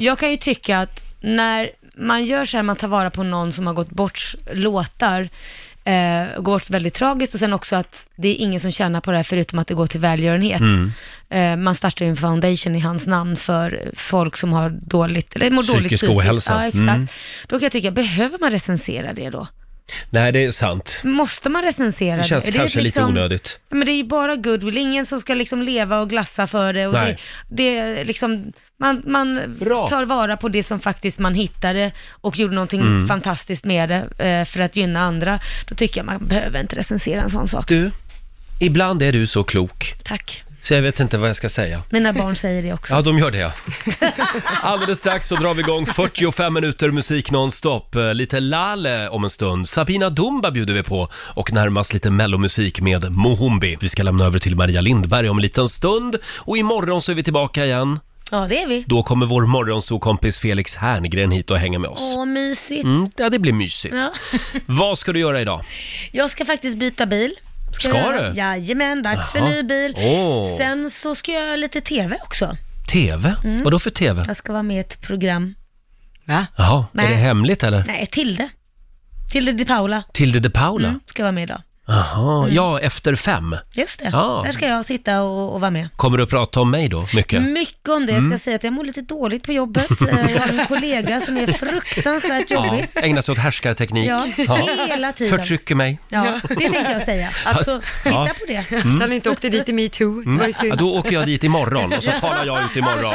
B: Jag kan ju tycka att när man gör så här, man tar vara på någon som har gått bort låtar, eh, går bort väldigt tragiskt och sen också att det är ingen som tjänar på det här förutom att det går till välgörenhet.
A: Mm.
B: Eh, man startar ju en foundation i hans namn för folk som har dåligt, eller mår dåligt
A: Psykisk ohälsa.
B: Ja, exakt.
A: Mm.
B: Då kan jag tycka, behöver man recensera det då?
A: Nej, det är sant.
B: Måste man recensera
A: Det känns
B: Är
A: kanske lite
B: liksom-
A: onödigt.
B: Ja, Men det är ju bara goodwill, ingen som ska liksom leva och glassa för det. Och det,
A: Nej.
B: det är liksom, man man tar vara på det som faktiskt man hittade och gjorde någonting
A: Mm.
B: fantastiskt med det eh, för att gynna andra. Då tycker jag man behöver inte recensera en sån sak.
A: Du, ibland är du så klok.
B: Tack.
A: Så jag vet inte vad jag ska säga.
B: Mina barn säger det också.
A: Ja, de gör det ja. Alldeles strax så drar vi igång 45 minuter musik nonstop. Eh, Lite Lale om en stund. Sabina Dumba bjuder vi på och närmast lite mellomusik med Mohombi. Vi ska lämna över till Maria Lindberg om en liten stund och imorgon så är vi tillbaka igen.
B: Ja, det är vi.
A: Då kommer vår morgonsokompis Felix Herngren hit och hänga med oss.
B: Åh, mysigt.
A: Mm, ja, det blir mysigt.
B: Ja.
A: Vad ska du göra idag?
B: Jag ska faktiskt byta bil.
A: Ska
B: jag göra.
A: du?
B: Jajamän, dags för
A: Jaha.
B: ny bil.
A: Åh.
B: Sen så ska jag göra lite TV också.
A: TV?
B: Mm.
A: Vadå för TV?
B: Jag ska vara med i ett program. Va?
A: Jaha,
B: Nej.
A: är det hemligt eller?
B: Nej, Tilde. Tilde Di Paula.
A: Tilde de Paula?
B: Mm, ska vara med idag.
A: Jaha,
B: Mm.
A: ja, efter fem.
B: Just det,
A: Ja.
B: där ska jag sitta och, och vara med.
A: Kommer du att prata om mig då, mycket?
B: Mycket om det. Jag ska
A: Mm.
B: säga att jag mår lite dåligt på jobbet. Eh, Jag har en kollega som är fruktansvärt
A: Ja,
B: jobbig.
A: ägna sig åt härskarteknik.
B: Ja, hela tiden.
A: Förtrycker mig.
B: Ja, det tänkte jag säga. Alltså, titta
A: Ja.
B: på det.
A: Mm. Att han
C: inte åkte dit i metoo.
A: Mm. Ja, då åker jag dit imorgon och så talar jag ut imorgon.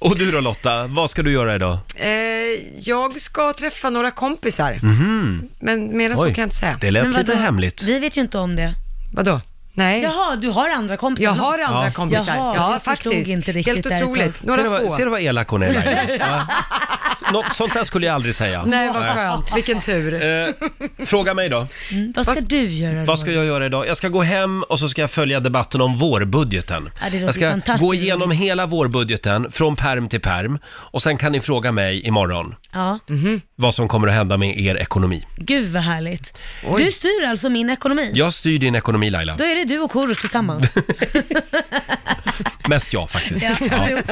A: Och du då Lotta, vad ska du göra idag?
C: Eh, jag ska träffa några kompisar,
A: Mhm.
C: men mer än så
A: Oj,
C: kan jag inte säga.
A: det lät Men vadå? lite hemligt.
B: Vi vet ju inte om det.
C: Vadå? Nej.
B: Jaha, du har andra kompisar?
C: Jag har
B: också.
C: andra
A: Ja.
C: kompisar.
B: Jaha,
C: Ja,
B: jag förstod
C: faktiskt.
B: inte riktigt
C: Helt
B: där ett tag.
C: otroligt.
A: Ser du vad, ser du vad elak hon är Laila? Ja. Något sånt där skulle jag aldrig säga.
C: Nej, vad skönt. Vilken tur.
A: Eh, Fråga mig då.
B: Mm. Vad ska du göra
A: Vad ska
B: Roger?
A: jag göra idag? Jag ska gå hem och så ska jag följa debatten om vårbudgeten.
B: Ja, det låter
A: jag ska
B: fantastiskt
A: gå igenom hela vårbudgeten från perm till perm och sen kan ni fråga mig imorgon
B: Ja.
C: Mhm.
A: vad som kommer att hända med er ekonomi.
B: Gud vad härligt.
A: Oj.
B: Du styr alltså min ekonomi?
A: Jag styr din ekonomi Laila.
B: Då är det du och Korosh tillsammans.
A: Mest jag faktiskt.
B: Ja,
A: Ja.
B: jo.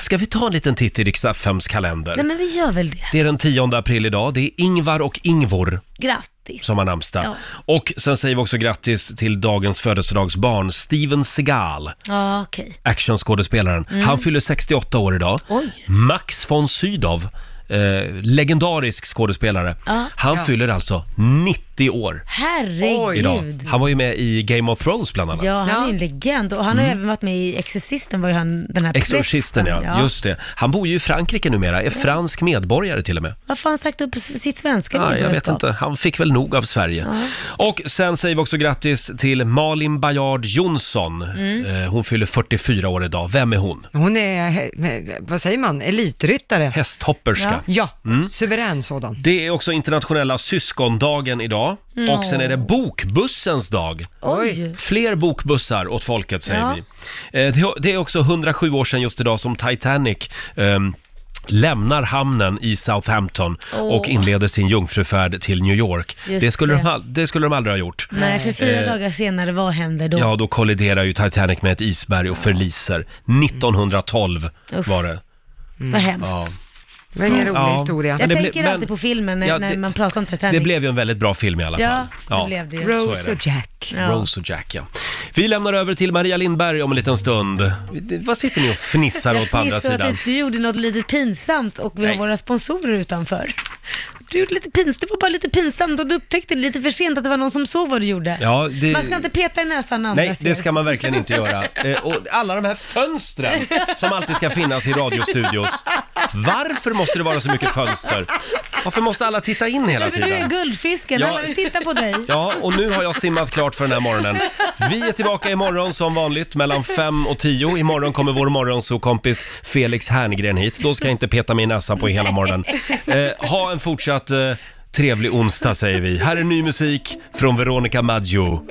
A: Ska vi ta en liten titt i Rix FMs kalender?
B: Nej men vi gör väl det.
A: Det är den 10 april idag. Det är Ingvar och Ingvor
B: Grattis.
A: som har namnsdag.
B: Ja.
A: Och sen säger vi också grattis till dagens födelsedagsbarn, Steven Seagal.
B: Ja, okej.
A: actionskådespelaren.
B: Mm.
A: Han fyller 68 år idag. Max von Sydow, eh, legendarisk skådespelare.
B: Ja.
A: Han
B: Ja.
A: fyller alltså 90 år idag.
B: Herregud.
A: Han var ju med i Game of Thrones bland annat.
B: Ja, han är en legend och han har
A: Mm.
B: även varit med i Exorcisten var ju han den här
A: Exorcisten ja.
B: prästen.
A: just det. Han bor ju i Frankrike numera, är fransk medborgare till och med.
B: Varför har han sagt upp sitt svenska
A: Ja, jag vet
B: medborgarskap?
A: inte, han fick väl nog av Sverige. Och sen säger vi också grattis till Malin Bajard Johnson.
C: Mm.
A: Eh, Hon fyller 44 år idag. Vem är hon?
C: Hon är, he- vad säger man, elitryttare.
A: Hästhopperska. Mm.
C: Ja, suverän sådan.
A: Det är också internationella syskondagen idag
C: Mm.
A: och sen är det bokbussens dag.
B: Oj.
A: Fler bokbussar åt folket säger
B: Ja.
A: vi. Eh, det- Det är också 107 år sedan just idag som Titanic ehm, lämnar hamnen i Southampton
B: Åh.
A: och inleder sin jungfrufärd till New York.
B: Just
A: Det skulle, De,
B: det.
A: al- det skulle de aldrig ha gjort.
B: Nej, för fyra
A: Eh,
B: dagar senare, vad händer då?
A: Ja, då kolliderar ju Titanic med ett isberg och förliser. 1912
B: Mm. Usch.
A: var det.
B: Vad hemskt.
A: Ja.
B: Det var ingen
A: rolig Ja. historia. Men
B: Jag
A: det
B: tänker
A: blev- men-
B: alltid på filmen när,
A: Ja,
B: när
A: det-
B: man pratar om Titanic.
A: Det blev ju en väldigt bra film i alla
B: Ja,
A: fall.
B: det blev det ju.
A: så är
B: Rose
A: det.
B: och Jack. Ja.
A: Rose och Jack, ja. Vi lämnar över till Maria Lindberg om en liten stund. Vad sitter ni och fnissar åt på andra
B: Ni såg
A: sidan?
B: att du gjorde något lite pinsamt och vi har våra sponsorer utanför. Du gjorde lite pinsamt, det var bara lite pinsamt och du upptäckte lite för sent att det var någon som såg vad du gjorde.
A: Ja, det-
B: Man ska inte peta i näsan när andra
A: Nej, det
B: ser.
A: ska man verkligen inte göra. Eh, Och alla de här fönstren som alltid ska finnas i radiostudios. Varför måste det vara så mycket fönster? Varför måste alla titta in hela
B: Men Du är
A: tiden?
B: guldfisken,
A: Ja.
B: alla vill titta på dig.
A: Ja, och nu har jag simmat klart för den här morgonen. Vi är tillbaka imorgon som vanligt mellan 5 och 10. Imorgon kommer vår morgonsokompis Felix Herngren hit. Då ska jag inte peta mig i näsan på hela morgonen. Eh, ha en fortsatt eh, trevlig onsdag säger vi. Här är ny musik från Veronica Maggio.